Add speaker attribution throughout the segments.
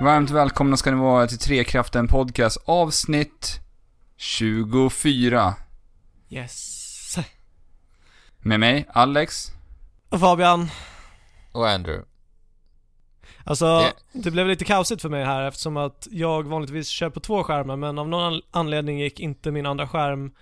Speaker 1: varmt välkomna ska ni vara till Trekraften Podcast avsnitt 24.
Speaker 2: Yes.
Speaker 1: Med mig, Alex.
Speaker 2: Och Fabian,
Speaker 3: Och Andrew.
Speaker 2: alltså
Speaker 3: Ja.
Speaker 2: det blev lite kaosigt för mig här eftersom att jag vanligtvis kör på två skärmar men av någon an- anledning gick inte min andra skärm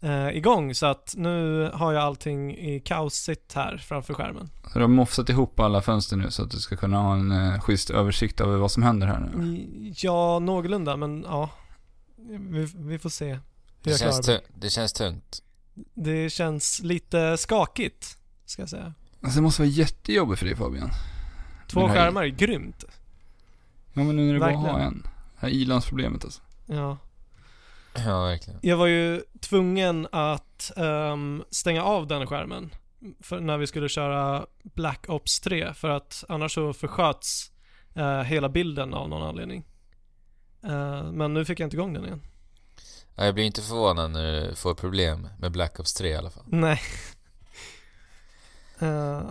Speaker 2: eh, igång så att nu har jag allting i kaosigt här framför skärmen.
Speaker 1: Du har mofsat ihop alla fönster nu så att du ska kunna ha en eh, schysst översikt över vad som händer här nu.
Speaker 2: Ja, någorlunda men ja. Vi, vi får se hur
Speaker 3: Det
Speaker 2: jag
Speaker 3: känns, typ-
Speaker 2: klarar mig.
Speaker 3: tu- det känns tunt.
Speaker 2: Det känns lite skakigt, ska jag säga.
Speaker 1: Alltså, det måste vara jättejobbigt för dig Fabian.
Speaker 2: Två
Speaker 1: Men här-
Speaker 2: skärmar är grymt.
Speaker 1: Ja men nu när du bara
Speaker 2: Verkligen.
Speaker 1: har en. Det här ilandsproblemet alltså.
Speaker 2: Ja.
Speaker 3: Ja, verkligen.
Speaker 2: Jag var ju tvungen att ehm, stänga av den skärmen för när vi skulle köra Black Ops 3 för att annars så försköts eh, hela bilden av någon anledning. Eh, men nu fick jag inte igång den igen.
Speaker 3: Ja, jag blir inte förvånad när du får problem med Black Ops 3 i alla fall.
Speaker 2: Nej. Eh,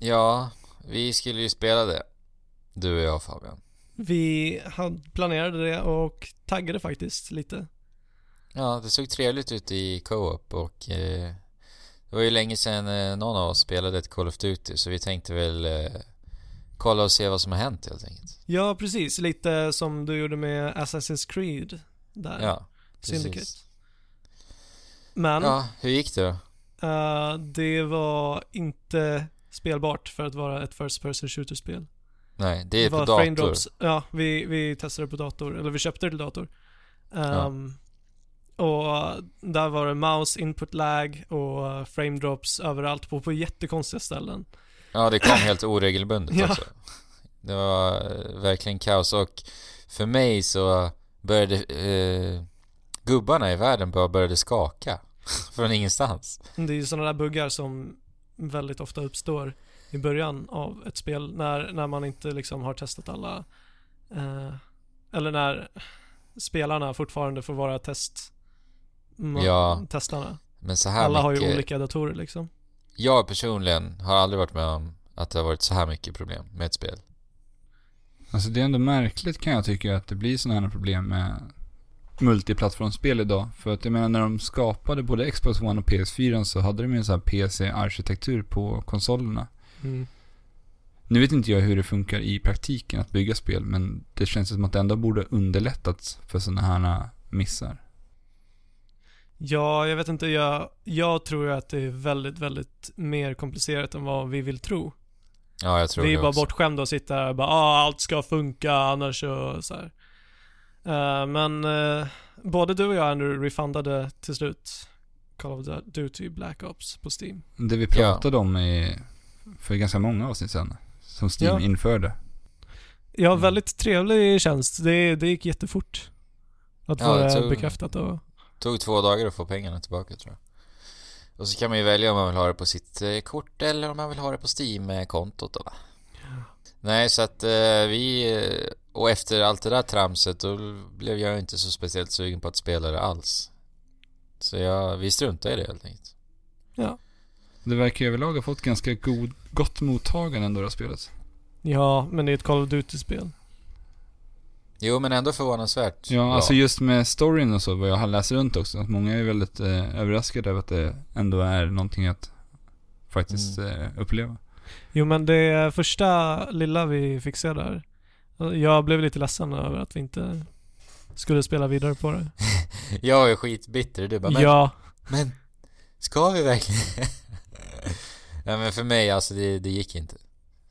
Speaker 3: Ja, vi skulle ju spela det. Du och jag Fabian.
Speaker 2: vi hade planerade det och taggade faktiskt lite.
Speaker 3: Ja, det såg trevligt ut i co-op och eh, det var ju länge sedan eh, någon av oss spelade ett Call of Duty så vi tänkte väl eh, kolla och se vad som har hänt helt enkelt.
Speaker 2: Ja, precis. Lite som du gjorde med Assassin's Creed där.
Speaker 3: Ja,
Speaker 2: Syndicate.
Speaker 3: precis.
Speaker 2: Men
Speaker 3: Ja, hur gick det då?
Speaker 2: Eh, det var inte spelbart för att vara ett First Person Shooter-spel.
Speaker 3: Nej, det är
Speaker 2: var
Speaker 3: på dator.
Speaker 2: frame drops. Ja, vi, vi testade det på dator, eller vi köpte det till dator. Ehm, Och eh, där var det mouse input lag och eh, frame drops överallt på, på jättekonstiga ställen.
Speaker 3: Ja, det kom helt oregelbundet
Speaker 2: Ja.
Speaker 3: också. Det var eh, verkligen kaos och för mig så började eh, gubbarna i världen bara började skaka från ingenstans.
Speaker 2: Det är ju sådana där buggar som väldigt ofta uppstår i början av ett spel när, när man inte liksom har testat alla eh, eller när spelarna fortfarande får vara test ma-
Speaker 3: Ja.
Speaker 2: testarna.
Speaker 3: Men så här
Speaker 2: Alla har
Speaker 3: mycket,
Speaker 2: ju olika datorer liksom.
Speaker 3: jag personligen har aldrig varit med om att det har varit så här mycket problem med ett spel.
Speaker 1: Alltså det är ändå märkligt kan jag tycka att det blir sådana här problem med multiplattformsspel idag. För att jag menar när de skapade både Xbox One och PS4 så hade de ju en sån här PC-arkitektur på konsolerna. Nu vet inte jag hur det funkar i praktiken att bygga spel, men det känns som att det ändå borde ha underlättats för sådana här missar.
Speaker 2: Ja, jag vet inte. Jag, jag tror ju att det är väldigt, väldigt mer komplicerat än vad vi vill tro.
Speaker 3: Ja, jag tror
Speaker 2: vi är
Speaker 3: det
Speaker 2: bara
Speaker 3: också.
Speaker 2: bortskämda och sitter här och bara ah, allt ska funka annars så, så här. Eh, men eh, både du och jag Andrew refundade till slut Call of Duty Black Ops på Steam.
Speaker 1: Det vi pratade om i, för ganska många avsnitt sedan, som Steam
Speaker 2: Ja.
Speaker 1: införde.
Speaker 2: Ja,
Speaker 3: Mm.
Speaker 2: väldigt trevlig tjänst. Det, det gick jättefort. Att
Speaker 3: Ja,
Speaker 2: få
Speaker 3: jag
Speaker 2: det
Speaker 3: tror-
Speaker 2: bekräftat och...
Speaker 3: Tog två dagar att få pengarna tillbaka tror jag. Och så kan man ju välja om man vill ha det på sitt eh, kort eller om man vill ha det på Steam-kontot då va? Nej, så att eh, vi... eh, Och efter allt det där tramset då blev jag inte så speciellt sugen på att spela det alls. Så jag, vi struntade i det helt enkelt.
Speaker 1: Det verkar överlag ha fått ganska god, gott mottagande ändå det här spelet.
Speaker 2: Ja, men det är ett Call of Duty-spel.
Speaker 3: Jo, men ändå förvånansvärt
Speaker 1: Ja,
Speaker 3: bra.
Speaker 1: alltså just med storyn och så, vad jag har läst runt också, att många är väldigt eh, överraskade över att det ändå är någonting att faktiskt eh, uppleva.
Speaker 2: Jo, men det första lilla vi fick se där. Jag blev lite ledsen över att vi inte skulle spela vidare på det.
Speaker 3: Jag är skitbitter, du bara men,
Speaker 2: Ja,
Speaker 3: men ska vi verkligen? Nej, men för mig alltså det, det gick inte.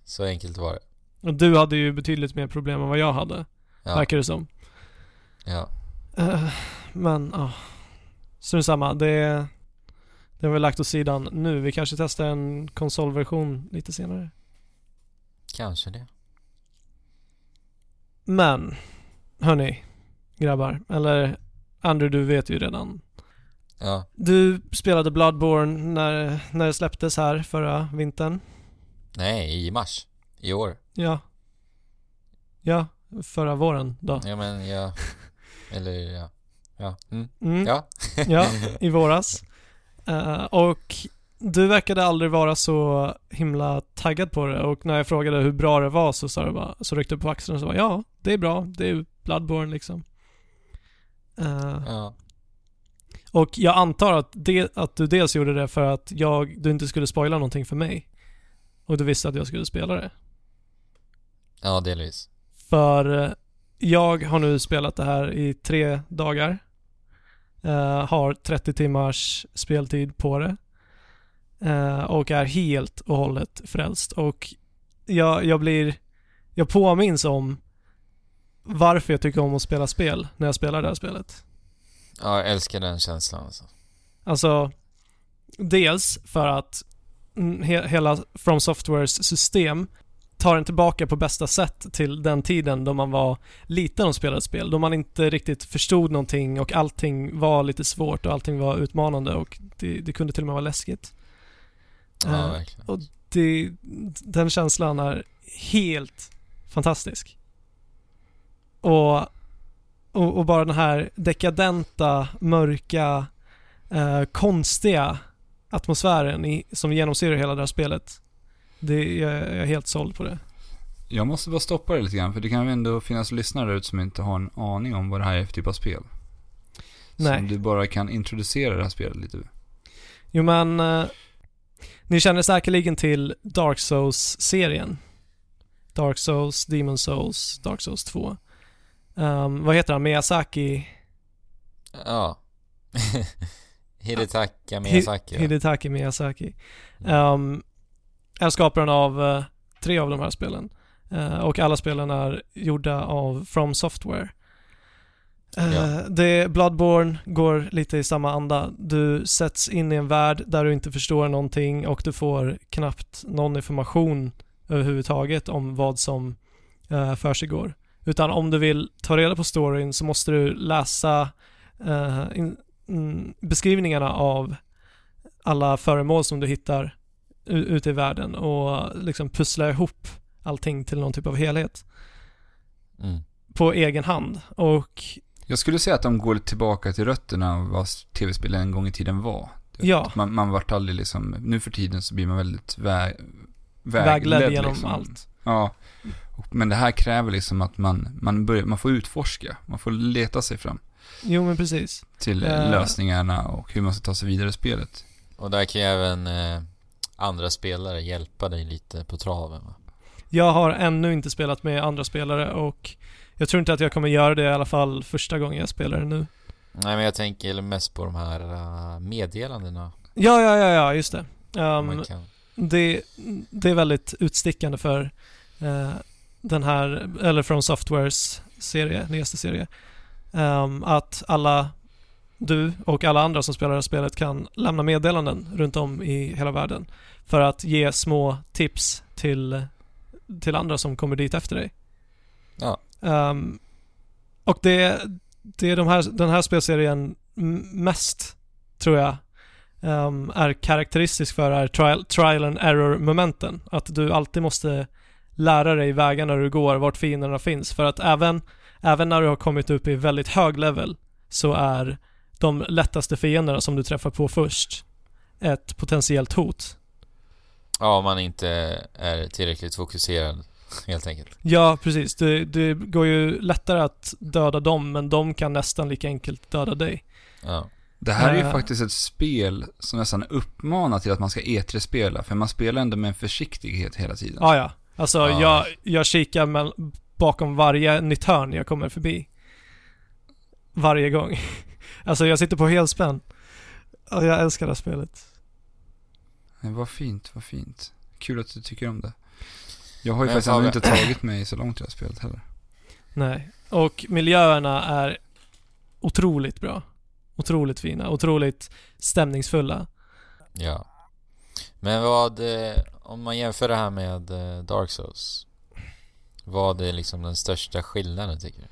Speaker 3: Så enkelt var det.
Speaker 2: och du hade ju betydligt mer problem än vad jag hade.
Speaker 3: Ja,
Speaker 2: Verkar det som.
Speaker 3: ja.
Speaker 2: Eh, men ja. Strunt samma. Det, det har vi lagt åt sidan nu. Vi kanske testar en konsolversion lite senare.
Speaker 3: Kanske det.
Speaker 2: Men, hörni, grabbar. Eller Andrew, du vet ju redan.
Speaker 3: Ja,
Speaker 2: Du spelade Bloodborne när, när det släpptes här förra vintern.
Speaker 3: nej i mars i år.
Speaker 2: Ja. Ja, förra våren då.
Speaker 3: Ja men ja, eller ja. Ja, mm.
Speaker 2: Mm.
Speaker 3: ja.
Speaker 2: Ja, i våras. Eh, och Du verkade aldrig vara så himla taggad på det och när jag frågade hur bra det var så sa du bara, så ryckte du på axeln och sa bara, ja, det är bra, det är Bloodborne liksom. Eh,
Speaker 3: Ja.
Speaker 2: och jag antar att, det, att du dels gjorde det för att jag, du inte skulle spoila någonting för mig. Och du visste att jag skulle spela det.
Speaker 3: ja, delvis.
Speaker 2: För eh, jag har nu spelat det här i tre dagar. Eh, har 30 timmars speltid på det. Eh, och är helt och hållet frälst. Och jag, jag blir... Jag påminns om varför jag tycker om att spela spel när jag spelar det här spelet.
Speaker 3: Ja, jag älskar den känslan alltså.
Speaker 2: Alltså, dels för att mm, he hela From Softwares system tar en tillbaka på bästa sätt till den tiden då man var liten och spelade spel. Då man inte riktigt förstod någonting och allting var lite svårt och allting var utmanande och det, det kunde till och med vara läskigt.
Speaker 3: Ja,
Speaker 2: Eh,
Speaker 3: verkligen.
Speaker 2: Det, den känslan är helt fantastisk. Och, och, och bara den här dekadenta, mörka, eh, konstiga atmosfären i, som genomsyrar hela det här spelet. Det, jag, jag är helt såld på det.
Speaker 1: Jag måste bara stoppa det lite grann, för det kan ju ändå finnas lyssnare där ute som inte har en aning om vad det här är för typ av spel.
Speaker 2: Nej.
Speaker 1: Som du bara kan introducera det här spelet lite.
Speaker 2: Jo men, eh, ni känner säkerligen till Dark Souls-serien. Dark Souls, Demon Souls, Dark Souls 2. Ehm, vad heter han? Miyazaki?
Speaker 3: Ja. Hidetaka Miyazaki.
Speaker 2: Hi-
Speaker 3: ja.
Speaker 2: Hidetaki Miyazaki. Ehm, är skaparen av eh, tre av de här spelen. Eh, och alla spelen är gjorda av From Software. Eh,
Speaker 3: Ja.
Speaker 2: Det Bloodborne går lite i samma anda. Du sätts in i en värld där du inte förstår någonting och du får knappt någon information överhuvudtaget om vad som eh, försiggår. Utan om du vill ta reda på storyn så måste du läsa eh, in, mm, beskrivningarna av alla föremål som du hittar u- ute i världen och liksom pussla ihop allting till någon typ av helhet
Speaker 3: Mm.
Speaker 2: på egen hand. Och
Speaker 1: Jag skulle säga att de går tillbaka till rötterna av vad tv-spel en gång i tiden var. Typ.
Speaker 2: ja,
Speaker 1: Man, man vart aldrig liksom, nu för tiden så blir man väldigt vä, vägledd.
Speaker 2: vägledd genom
Speaker 1: liksom.
Speaker 2: allt.
Speaker 1: Ja. Och, men det här kräver liksom att man, man, börjar, man får utforska, man får leta sig fram
Speaker 2: Jo men precis.
Speaker 1: till eh,
Speaker 2: Eh.
Speaker 1: lösningarna och hur man ska ta sig vidare i spelet.
Speaker 3: Och där kan ju även eh, andra spelare hjälpa dig lite på traven va?
Speaker 2: Jag har ännu inte spelat med andra spelare och jag tror inte att jag kommer göra det i alla fall första gången jag spelar det nu.
Speaker 3: Nej men jag tänker mest på de här eh, meddelandena.
Speaker 2: Ja, ja, ja, ja just det. Ehm,
Speaker 3: man kan...
Speaker 2: det, det är väldigt utstickande för eh, den här, eller från Softwares serie, nyaste serie. Ehm, att alla, du och alla andra som spelar det här spelet kan lämna meddelanden runt om i hela världen. För att ge små tips till, till andra som kommer dit efter dig.
Speaker 3: Ja.
Speaker 2: Ehm, och det, det är de här, den här spelserien m- mest, tror jag, ehm, är karaktäristisk för är trial, trial and error momenten. Att du alltid måste lära dig vägarna du går, vart fienderna finns. För att även, även när du har kommit upp i väldigt hög level så är de lättaste fienderna som du träffar på först ett potentiellt hot.
Speaker 3: Ja, om man inte är tillräckligt fokuserad helt enkelt.
Speaker 2: Ja, precis. Det, det går ju lättare att döda dem, men de kan nästan lika enkelt döda dig.
Speaker 3: Ja.
Speaker 1: Det här är ju
Speaker 2: Eh.
Speaker 1: faktiskt ett spel som nästan uppmanar till att man ska E3-spela, för man spelar ändå med en försiktighet hela tiden.
Speaker 2: Ah, ja, alltså
Speaker 3: Ja.
Speaker 2: Jag, jag kikar mell- bakom varje nytt hörn jag kommer förbi. Varje gång. Alltså jag sitter på helspänn. Ja, Jag älskar det här spelet.
Speaker 1: Men vad fint, vad fint. Kul att du tycker om det. Jag har ju
Speaker 3: Men
Speaker 1: faktiskt ändå
Speaker 3: Fabbe-
Speaker 1: inte tagit mig så långt i det här spelet heller.
Speaker 2: Nej. Och miljöerna är otroligt bra. Otroligt fina, otroligt stämningsfulla.
Speaker 3: ja. Men vad, eh, om man jämför det här med eh, Dark Souls. Vad är liksom den största skillnaden tycker du?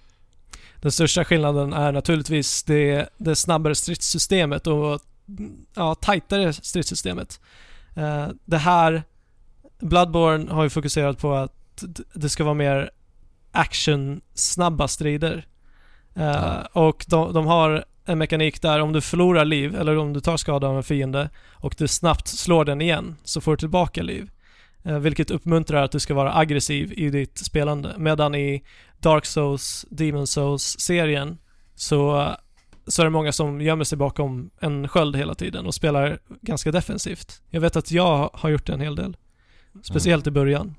Speaker 2: Den största skillnaden är naturligtvis det, det snabbare stridssystemet och ja, tajtare stridssystemet. Eh, det här, Bloodborne har ju fokuserat på att d- det ska vara mer action-snabba strider. Eh,
Speaker 3: Ja.
Speaker 2: Och de, de har en mekanik där om du förlorar liv eller om du tar skada av en fiende och du snabbt slår den igen så får du tillbaka liv. Eh, Vilket uppmuntrar att du ska vara aggressiv i ditt spelande. Medan i Dark Souls, Demon Souls-serien så, så är det många som gömmer sig bakom en sköld hela tiden och spelar ganska defensivt. Jag vet att jag har gjort det en hel del. Speciellt i början.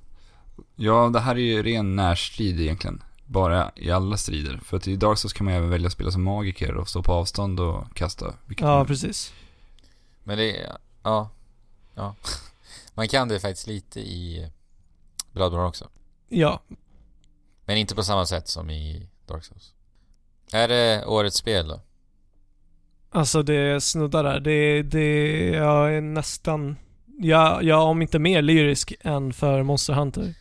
Speaker 1: Ja, det här är ju ren närstrid egentligen. Bara i alla strider. För att i Dark Souls kan man även välja att spela som magiker och stå på avstånd och kasta. vilket
Speaker 2: Ja,
Speaker 1: man-
Speaker 2: precis.
Speaker 3: Men det, ja, ja. Man kan det faktiskt lite i Bloodborne också.
Speaker 2: Ja,
Speaker 3: Men inte på samma sätt som i Dark Souls. Är det årets spel då?
Speaker 2: Alltså det snuddar där. Det, det, jag är nästan, jag, jag är om inte mer lyrisk än för Monster Hunter.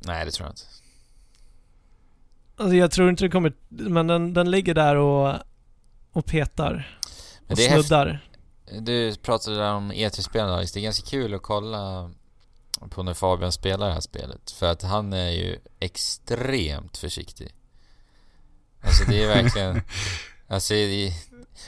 Speaker 3: Nej, det tror jag inte.
Speaker 2: Alltså jag tror inte det kommer, men den, den ligger där och, och petar.
Speaker 3: Men
Speaker 2: Och
Speaker 3: det är häftigt.
Speaker 2: snuddar.
Speaker 3: Du pratade där om E3-spelen Alex. Det är ganska kul att kolla på när Fabian spelar det här spelet. För att han är ju extremt försiktig. Alltså det är verkligen... alltså det är,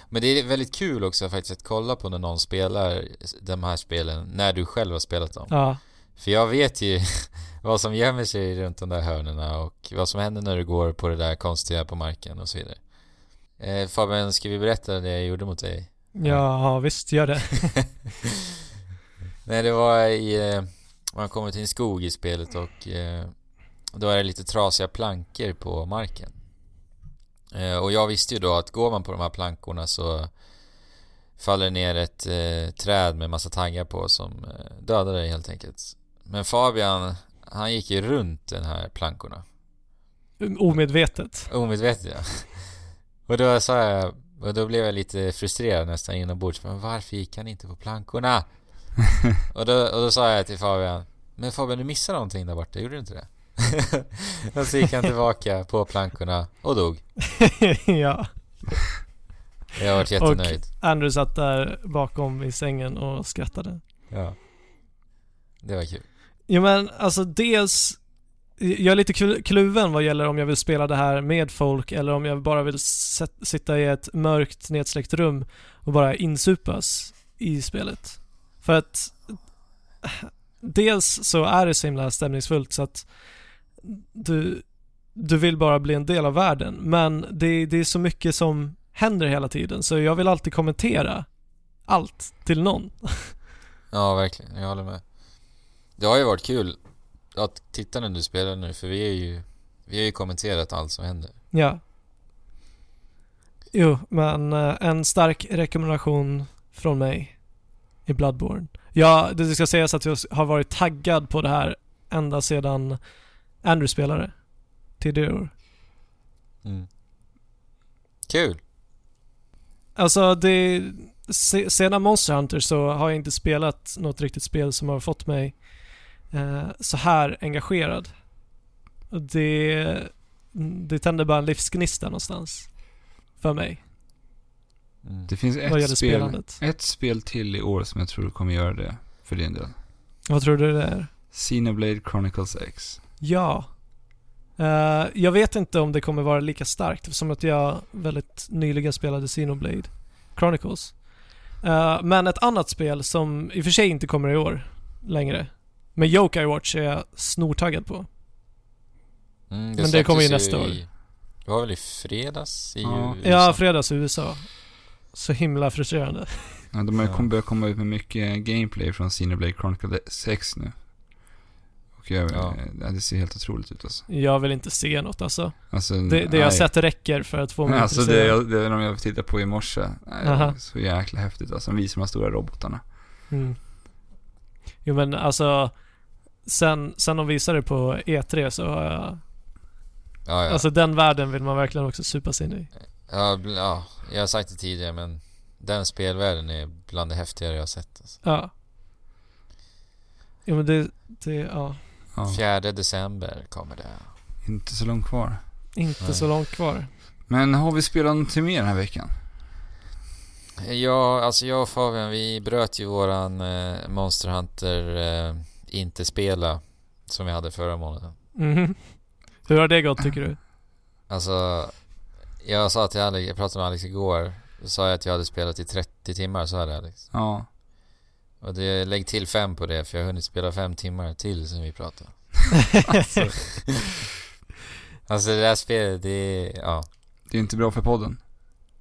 Speaker 3: men det är väldigt kul också faktiskt att kolla på när någon spelar de här spelen när du själv har spelat dem.
Speaker 2: Ja,
Speaker 3: För jag vet ju vad som gömmer sig runt de där hörnerna och vad som händer när du går på det där konstiga på marken och så vidare. Eh, Fabian, ska vi berätta det jag gjorde mot dig?
Speaker 2: ja visst gör det.
Speaker 3: Nej, det var i... eh, Man kommer till en skog i spelet och eh, då är det lite trasiga plankor på marken. Eh, Och jag visste ju då att går man på de här plankorna så faller det ner ett eh, träd med massa taggar på som eh, dödar dig helt enkelt. Men Fabian, han gick ju runt den här plankorna.
Speaker 2: Omedvetet.
Speaker 3: Omedvetet ja. Och då sa jag, och då blev jag lite frustrerad nästan inombords. Men varför gick han inte på plankorna? och, då, och då sa jag till Fabian, men Fabian du missade någonting där borta, gjorde du inte det? och så gick han tillbaka på plankorna och dog.
Speaker 2: ja.
Speaker 3: Jag varit jättenöjd.
Speaker 2: Andrew satt där bakom i sängen och skrattade.
Speaker 3: Ja. Det var kul.
Speaker 2: Ja men alltså dels jag är lite klu- kluven vad gäller om jag vill spela det här med folk eller om jag bara vill sätt- sitta i ett mörkt nedsläckt rum och bara insupas i spelet. För att eh, dels så är det så himla stämningsfullt så att du, du vill bara bli en del av världen men det, det är så mycket som händer hela tiden så jag vill alltid kommentera allt till någon.
Speaker 3: Ja, verkligen. Jag håller med. Det har ju varit kul att titta när du spelar nu, för vi är ju, vi har ju kommenterat allt som händer.
Speaker 2: Ja. Jo, men eh, en stark rekommendation från mig i Bloodborne. Ja, det ska sägas att jag har varit taggad på det här ända sedan Andrew spelade tidigare år.
Speaker 3: Mm. Kul!
Speaker 2: Alltså, det, se, sedan Monster Hunter så har jag inte spelat något riktigt spel som har fått mig eh, så här engagerad. Och Det, det tänder bara en livsgnista någonstans för mig
Speaker 3: Mm.
Speaker 1: Det finns
Speaker 2: vad
Speaker 1: ett
Speaker 2: gäller
Speaker 1: spel,
Speaker 2: spelandet.
Speaker 1: ett spel till i år som jag tror kommer göra det för din del.
Speaker 2: Vad tror du det är?
Speaker 1: Xenoblade Chronicles X.
Speaker 2: Ja. Eh, jag vet inte om det kommer vara lika starkt som att jag väldigt nyligen spelade Xenoblade Chronicles. Eh, men ett annat spel som i och för sig inte kommer i år längre. Men Yokai Watch är jag snortaggad på.
Speaker 3: Mm,
Speaker 2: Men det kommer ju
Speaker 3: släpptes
Speaker 2: nästa år.
Speaker 3: I, det var väl i fredags i liksom.
Speaker 1: Ja.
Speaker 3: USA?
Speaker 2: Ja, fredags i USA. Så himla frustrerande.
Speaker 1: Ja, de har ju
Speaker 3: Ja.
Speaker 1: kom- börjat komma ut med mycket gameplay från Xenoblade Chronicles X nu. Och jag, eh,
Speaker 3: Ja.
Speaker 1: ja. det ser helt otroligt ut alltså.
Speaker 2: Jag vill inte se något alltså.
Speaker 1: alltså
Speaker 2: Det, det jag
Speaker 1: nej.
Speaker 2: sett räcker för att få mig
Speaker 1: Alltså det,
Speaker 2: intresserad.
Speaker 1: jag- det är de jag tittade på i morse. Nej, det
Speaker 2: Aha.
Speaker 1: var Så jäkla häftigt alltså. De visar de här stora robotarna.
Speaker 2: Mm. Jo men alltså, sen, sen de visade det på E3 så har jag
Speaker 3: Ja, ja.
Speaker 2: Alltså den världen vill man verkligen också supa sig in i.
Speaker 3: ja, bl- ja, jag har sagt det tidigare men den spelvärlden är bland det häftigare jag har sett. Alltså.
Speaker 2: Ja. Ja men det, det, ja.
Speaker 1: Ja,
Speaker 3: 4 december kommer det.
Speaker 1: inte så långt kvar.
Speaker 2: Inte
Speaker 3: Nej.
Speaker 2: så långt kvar.
Speaker 1: Men har vi spelat någonting mer den här veckan?
Speaker 3: Ja, alltså jag och Fabian vi bröt ju våran eh, Monster Hunter eh, inte spela som vi hade förra månaden.
Speaker 2: Mhm. Hur har det gått tycker du?
Speaker 3: Alltså, Jag sa till Alex, jag pratade med Alex igår. Då sa jag att jag hade spelat i 30 timmar, sa det Alex.
Speaker 1: Ja.
Speaker 3: Och det, lägg till fem på det, för jag har hunnit spela fem timmar till sen vi pratade. Alltså det där spelet, det är, ja.
Speaker 1: Det är inte bra för podden.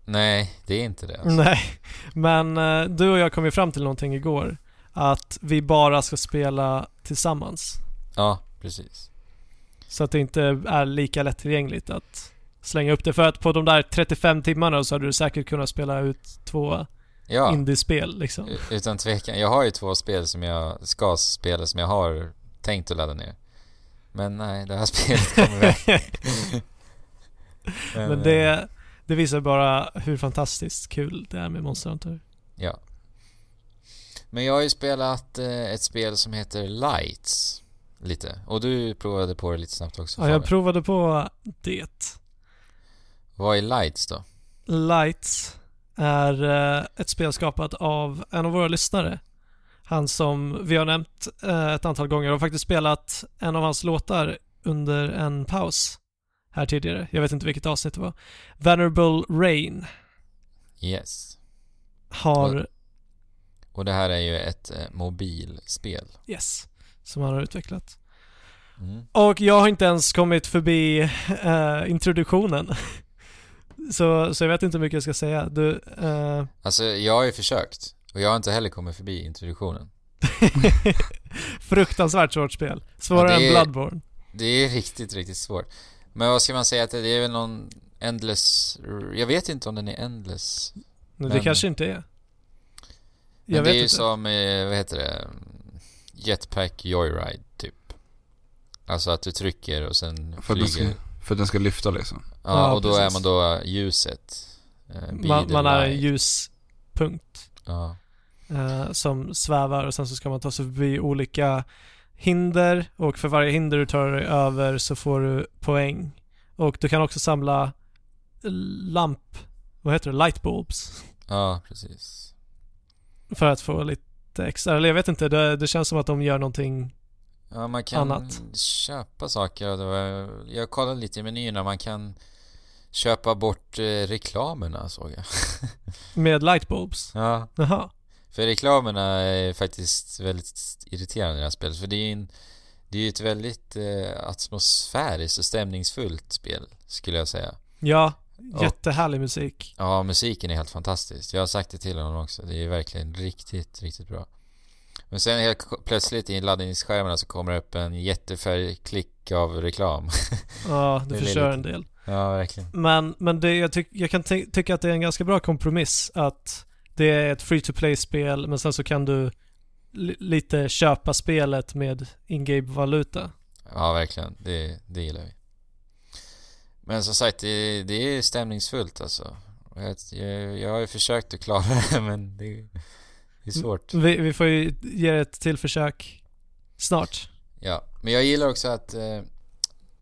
Speaker 3: Nej, det är inte det. Alltså.
Speaker 2: Nej, men eh, du och jag kom ju fram till någonting igår. Att vi bara ska spela tillsammans.
Speaker 3: Ja, precis.
Speaker 2: Så att det inte är lika lättillgängligt att slänga upp det. För att på de där 35 timmarna så hade du säkert kunnat spela ut två
Speaker 3: Ja. Eh.
Speaker 2: indiespel liksom.
Speaker 3: U- Utan tvekan. Jag har ju två spel som jag ska spela som jag har tänkt att ladda ner. Men nej, det här spelet kommer väl.
Speaker 2: Men
Speaker 3: eh,
Speaker 2: det, det visar bara hur fantastiskt kul det är med Monster Hunter.
Speaker 3: Ja. Men jag har ju spelat eh, ett spel som heter Lights. Lite. Och du provade på det lite snabbt också.
Speaker 2: Ja, jag
Speaker 3: Fabian.
Speaker 2: provade på det.
Speaker 3: Vad är Lights då?
Speaker 2: Lights är eh, ett spel skapat av en av våra lyssnare. Han som vi har nämnt eh, ett antal gånger och faktiskt spelat en av hans låtar under en paus här tidigare. Jag vet inte vilket avsnitt det var. Venerable Rain
Speaker 3: Yes.
Speaker 2: har,
Speaker 3: Och det här är ju ett eh, mobilspel.
Speaker 2: yes, som han har utvecklat.
Speaker 3: Mm.
Speaker 2: Och jag har inte ens kommit förbi eh, introduktionen. Så, så jag vet inte hur mycket jag ska säga. Du, eh,
Speaker 3: Alltså, jag har ju försökt. Och jag har inte heller kommit förbi introduktionen.
Speaker 2: fruktansvärt svårt spel. Svårare
Speaker 3: Ja, det
Speaker 2: än
Speaker 3: är-
Speaker 2: Bloodborne.
Speaker 3: Det är riktigt, riktigt svårt. Men vad ska man säga att det är väl någon endless... Jag vet inte om den är endless.
Speaker 2: Men det
Speaker 3: Men-
Speaker 2: kanske inte är.
Speaker 3: Men
Speaker 2: Jag
Speaker 3: det är
Speaker 2: vet
Speaker 3: ju
Speaker 2: inte.
Speaker 3: som, eh, vad heter det? Jetpack Joyride, typ. Alltså att du trycker och sen
Speaker 1: För att, den ska,
Speaker 3: flyger.
Speaker 1: för att den ska lyfta liksom.
Speaker 3: Ja,
Speaker 2: Ja,
Speaker 3: och då är
Speaker 2: precis.
Speaker 3: man då ljuset. Eh, be
Speaker 2: man,
Speaker 3: the
Speaker 2: man är en
Speaker 3: light.
Speaker 2: ljuspunkt
Speaker 3: Ja.
Speaker 2: eh, som svävar och sen så ska man ta sig förbi olika hinder och för varje hinder du tar dig över så får du poäng. Och du kan också samla lamp, vad heter det, lightbulbs
Speaker 3: ja, precis.
Speaker 2: för att få lite extra, eller jag vet inte, det, det känns som att de gör någonting
Speaker 3: Ja, man kan
Speaker 2: Annat.
Speaker 3: köpa saker. och det var- Jag kollade lite i menyerna. Man kan köpa bort eh, reklamerna, såg jag.
Speaker 2: med lightbulbs.
Speaker 3: Ja.
Speaker 2: Jaha.
Speaker 3: För reklamerna är faktiskt väldigt irriterande i det här spelet. För det är ju en, det är ju ett väldigt eh, atmosfäriskt och stämningsfullt spel, skulle jag säga.
Speaker 2: Ja,
Speaker 3: Ja.
Speaker 2: jättehärlig musik.
Speaker 3: Ja, musiken är helt fantastisk. Jag har sagt det till honom också. Det är verkligen riktigt, riktigt bra. Men sen helt k- plötsligt i laddningsskärmarna så kommer det upp en jättefärgklick av reklam.
Speaker 2: Ja,
Speaker 3: Det
Speaker 2: det
Speaker 3: är
Speaker 2: förstör en
Speaker 3: lite-
Speaker 2: del.
Speaker 3: Ja, verkligen.
Speaker 2: Men, men det, jag, tyck, jag kan ty- tycka att det är en ganska bra kompromiss att det är ett free to play-spel men sen så kan du li- lite köpa spelet med in-game-valuta.
Speaker 3: Ja, verkligen. Det, det gillar vi. Men som sagt, det, det är stämningsfullt alltså. Och Jag, jag, jag har ju försökt att klara det, men det, det är svårt.
Speaker 2: Vi, vi får ju ge det ett till försök snart.
Speaker 3: Ja, men jag gillar också att eh,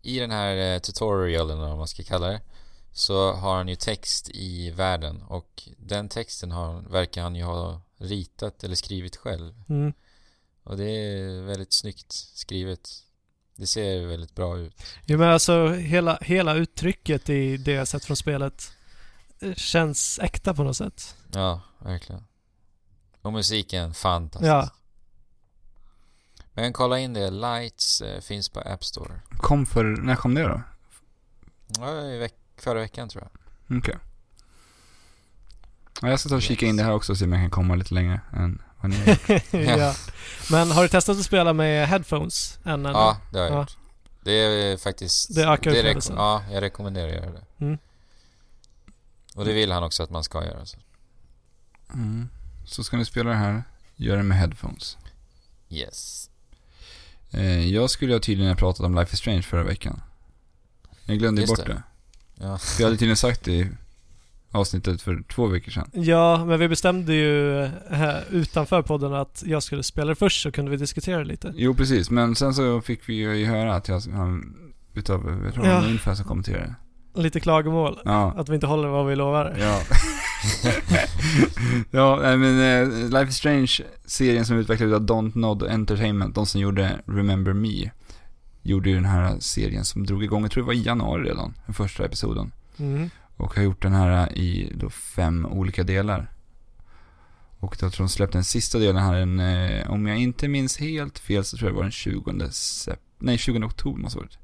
Speaker 3: i den här eh, tutorialen, eller vad man ska kalla det, så har han ju text i världen och den texten har, verkar han ju ha ritat eller skrivit själv.
Speaker 2: Mm.
Speaker 3: Och det är väldigt snyggt skrivet. Det ser väldigt bra ut.
Speaker 2: Jo men alltså hela, hela uttrycket i det jag sett från spelet eh, känns äkta på något sätt.
Speaker 3: Ja, verkligen. Och musiken, fantastisk.
Speaker 2: Ja.
Speaker 3: Men kolla in det, Lights eh, finns på App Store.
Speaker 1: Kom för, när kom det då?
Speaker 3: Ja, i veck- förra veckan tror jag.
Speaker 1: Okej. Ja, jag ska ta och kika in det här också och se om jag kan komma lite längre än vad ni är.
Speaker 2: ja. Men har du testat att spela med headphones än? eller?
Speaker 3: Ja, det har jag
Speaker 2: Ja.
Speaker 3: gjort. Det är eh, faktiskt...
Speaker 2: Det ökar
Speaker 3: reko-
Speaker 2: upplevelsen.
Speaker 3: Ja, jag rekommenderar att göra det.
Speaker 2: Mm.
Speaker 3: Och det vill han också att man ska göra. Så.
Speaker 1: Mm. Så ska ni spela det här, gör det med headphones.
Speaker 3: Yes.
Speaker 1: Eh, jag skulle ha tydligen ha pratat om Life is Strange förra veckan. Jag glömde ju
Speaker 3: Just
Speaker 1: bort
Speaker 3: det.
Speaker 1: det.
Speaker 3: Ja.
Speaker 1: För jag hade tydligen sagt det i avsnittet för två veckor sedan.
Speaker 2: Ja, men vi bestämde ju eh, utanför podden att jag skulle spela det först så kunde vi diskutera det lite.
Speaker 1: Jo, precis. Men sen så fick vi ju höra att jag, han, utav, jag tror det var
Speaker 2: Ja.
Speaker 1: ungefär som kommenterade det.
Speaker 2: Lite klagomål.
Speaker 1: Ja.
Speaker 2: Att vi inte håller vad vi lovar.
Speaker 1: Ja. ja, nej, men eh, Life is Strange-serien som utvecklades av Don't Nod Entertainment, de som gjorde Remember Me, gjorde ju den här serien som drog igång, jag tror det var i januari redan, den första episoden.
Speaker 2: Mm.
Speaker 1: Och har gjort den här i då fem olika delar. Och jag tror de släppte den sista delen här en, eh, om jag inte minns helt fel så tror jag det var den 20 sep- nej 20 oktober måste det ha varit.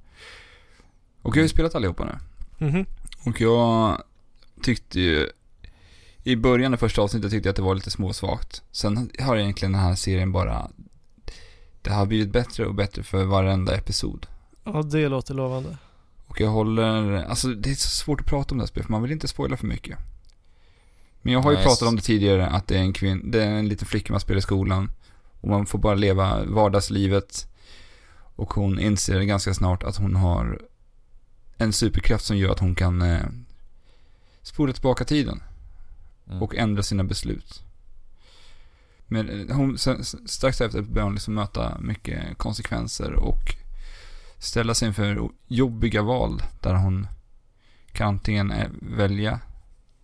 Speaker 1: Och jag har ju spelat allihopa nu.
Speaker 2: Mhm.
Speaker 1: Och jag tyckte ju, i början, det första avsnittet, tyckte jag att det var lite småsvagt. Sen har egentligen den här serien bara, det har blivit bättre och bättre för varenda episod.
Speaker 2: Ja, det låter lovande.
Speaker 1: Och jag håller, alltså det är så svårt att prata om det här spelet för man vill inte spoila för mycket. Men jag har ju
Speaker 3: Nej,
Speaker 1: pratat
Speaker 3: s-
Speaker 1: om det tidigare att det är en kvinn, det är en liten flicka man spelar i skolan. Och man får bara leva vardagslivet. Och hon inser ganska snart att hon har en superkraft som gör att hon kan eh, spola tillbaka tiden
Speaker 3: Mm.
Speaker 1: och ändra sina beslut. Men eh, hon, sen, s- strax efter började hon liksom möta mycket konsekvenser och ställa sig inför o- jobbiga val där hon kan antingen eh, välja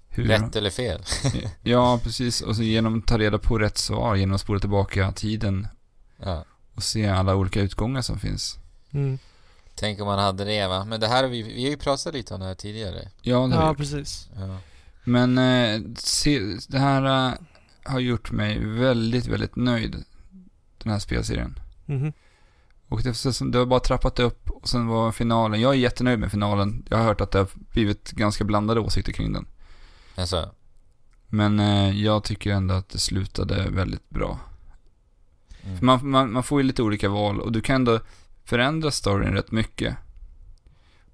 Speaker 1: hur...
Speaker 3: Rätt eller fel?
Speaker 1: Ja, precis. Och så genom att ta reda på rätt svar, genom att spola tillbaka tiden
Speaker 3: Ja.
Speaker 1: och se alla olika utgångar som finns.
Speaker 2: Mm.
Speaker 3: Tänk om man hade det va? Men det här, har vi, vi har ju pratat lite om det här tidigare.
Speaker 1: Ja, det har
Speaker 2: Ja,
Speaker 1: jag.
Speaker 2: precis.
Speaker 3: Ja.
Speaker 1: Men eh, se, det här eh, har gjort mig väldigt, väldigt nöjd. Den här spelserien. Mm-hmm.
Speaker 2: Mhm.
Speaker 1: Och det, sen, det har bara trappat upp och sen var finalen. Jag är jättenöjd med finalen. Jag har hört att det har blivit ganska blandade åsikter kring den.
Speaker 3: Alltså,
Speaker 1: Men eh, jag tycker ändå att det slutade väldigt bra.
Speaker 3: mm.
Speaker 1: För man, man, man får ju lite olika val och du kan ändå förändra storyn rätt mycket.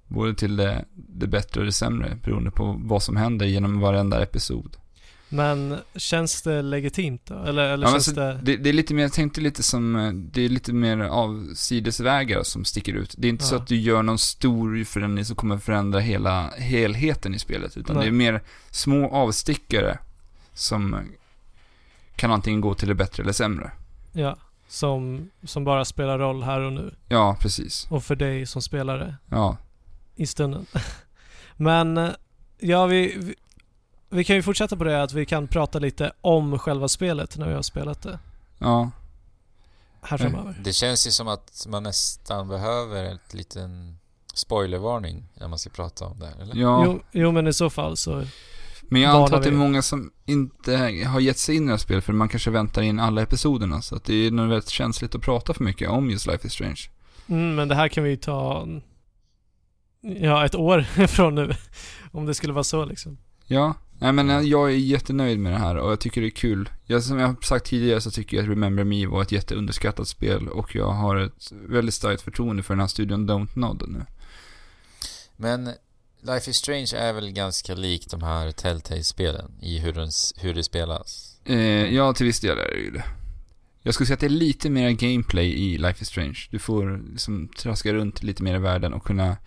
Speaker 1: Både till det, det bättre och det sämre beroende på vad som händer genom varenda episod.
Speaker 2: Men känns det legitimt då? Eller, eller
Speaker 1: Ja, men
Speaker 2: känns
Speaker 1: så-
Speaker 2: det...
Speaker 1: Det, det är lite mer, jag tänkte lite som, eh, det är lite mer avsidesvägar som sticker ut. Det är inte så
Speaker 2: Ja.
Speaker 1: att du gör någon stor förändring som kommer förändra hela helheten i spelet, utan
Speaker 2: Nej.
Speaker 1: det är mer små avstickare som kan antingen gå till det bättre eller sämre.
Speaker 2: Ja. Som, som bara spelar roll här och nu.
Speaker 1: Ja, precis.
Speaker 2: Och för dig som spelare
Speaker 1: Ja,
Speaker 2: i stunden. Men eh, ja, vi, vi, vi kan ju fortsätta på det att vi kan prata lite om själva spelet när vi har spelat det
Speaker 1: ja,
Speaker 2: här
Speaker 1: Mm.
Speaker 2: framöver.
Speaker 3: det känns ju som att man nästan behöver ett liten spoilervarning när man ska prata om det här, eller?
Speaker 1: ja.
Speaker 2: Jo, jo, men i så fall så...
Speaker 1: Men jag
Speaker 2: Vana
Speaker 1: antar att det är
Speaker 2: vid det.
Speaker 1: många som inte har gett sig in i det här spelet för man kanske väntar in alla episoderna. Så att det är nog väldigt känsligt att prata för mycket om just Life is Strange.
Speaker 2: Mm, men det här kan vi ju ta... mm, Ja, ett år från nu. Om det skulle vara så liksom.
Speaker 1: Ja, nej men eh, jag är jättenöjd med det här och jag tycker det är kul. Jag, som jag har sagt tidigare så tycker jag att Remember Me var ett jätteunderskattat spel och jag har ett väldigt starkt förtroende för den här studion Don't Nod nu.
Speaker 3: Men Life is Strange är väl ganska lik de här Telltale-spelen i hur, den, s- hur det spelas?
Speaker 1: Eh, ja, till viss del är det ju det. Jag skulle säga att det är lite mer gameplay i Life is Strange. Du får liksom traska runt lite mer i världen och kunna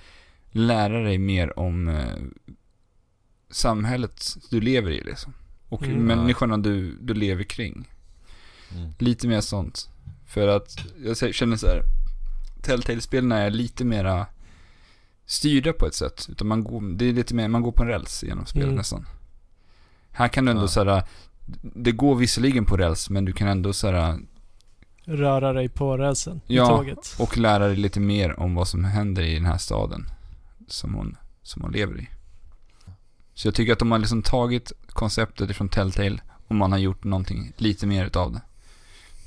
Speaker 1: lära dig mer om eh, samhället du lever i liksom. Och
Speaker 2: Mm.
Speaker 1: människorna du, du lever kring.
Speaker 3: Mm.
Speaker 1: Lite mer sånt. För att jag känner så här. Telltale-spelen är lite mera styrda på ett sätt. Utan man går, det är lite mer, man går på en räls genom spelet
Speaker 2: Mm.
Speaker 1: nästan. Här kan du ändå
Speaker 3: Ja.
Speaker 1: så här. Det går visserligen på räls, men du kan ändå så här
Speaker 2: Röra dig på rälsen
Speaker 1: Ja.
Speaker 2: i tåget.
Speaker 1: och lära dig lite mer om vad som händer i den här staden. Som hon, som hon lever i. Så jag tycker att de har liksom tagit konceptet från Telltale och man har gjort någonting lite mer utav det.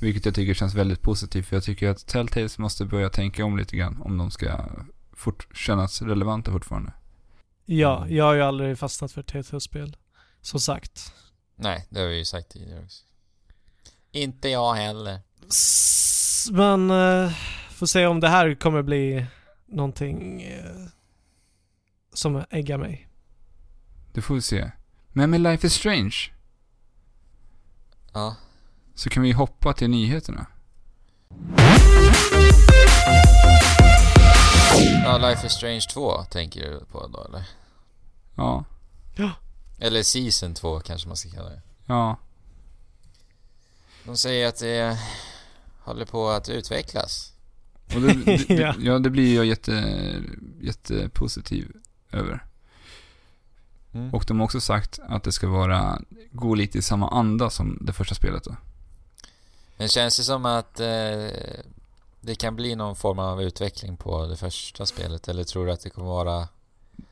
Speaker 1: Vilket jag tycker känns väldigt positivt för jag tycker att Telltale måste börja tänka om lite grann om de ska fort kännas relevanta fortfarande.
Speaker 2: Ja, jag har ju aldrig fastnat för TT-spel. Som sagt.
Speaker 3: Nej, det har vi ju sagt tidigare också. Inte jag heller.
Speaker 2: S- Men eh, får se om det här kommer bli någonting eh, som äggar mig.
Speaker 1: Det får vi se. Men med Life is Strange
Speaker 3: Ja.
Speaker 1: så kan vi hoppa till nyheterna.
Speaker 3: ja, Life is Strange 2 tänker du på då eller?
Speaker 1: Ja,
Speaker 3: Eller Season 2 kanske man ska kalla det.
Speaker 1: ja,
Speaker 3: De säger att det håller på att utvecklas.
Speaker 1: Och det, det,
Speaker 2: Ja.
Speaker 1: det, ja, det blir jag jätte, jättepositiv över.
Speaker 3: Mm.
Speaker 1: Och de har också sagt att det ska vara, gå lite i samma anda som det första spelet då.
Speaker 3: Men känns det som att eh, det kan bli någon form av utveckling på det första spelet? Eller tror du att det kommer vara...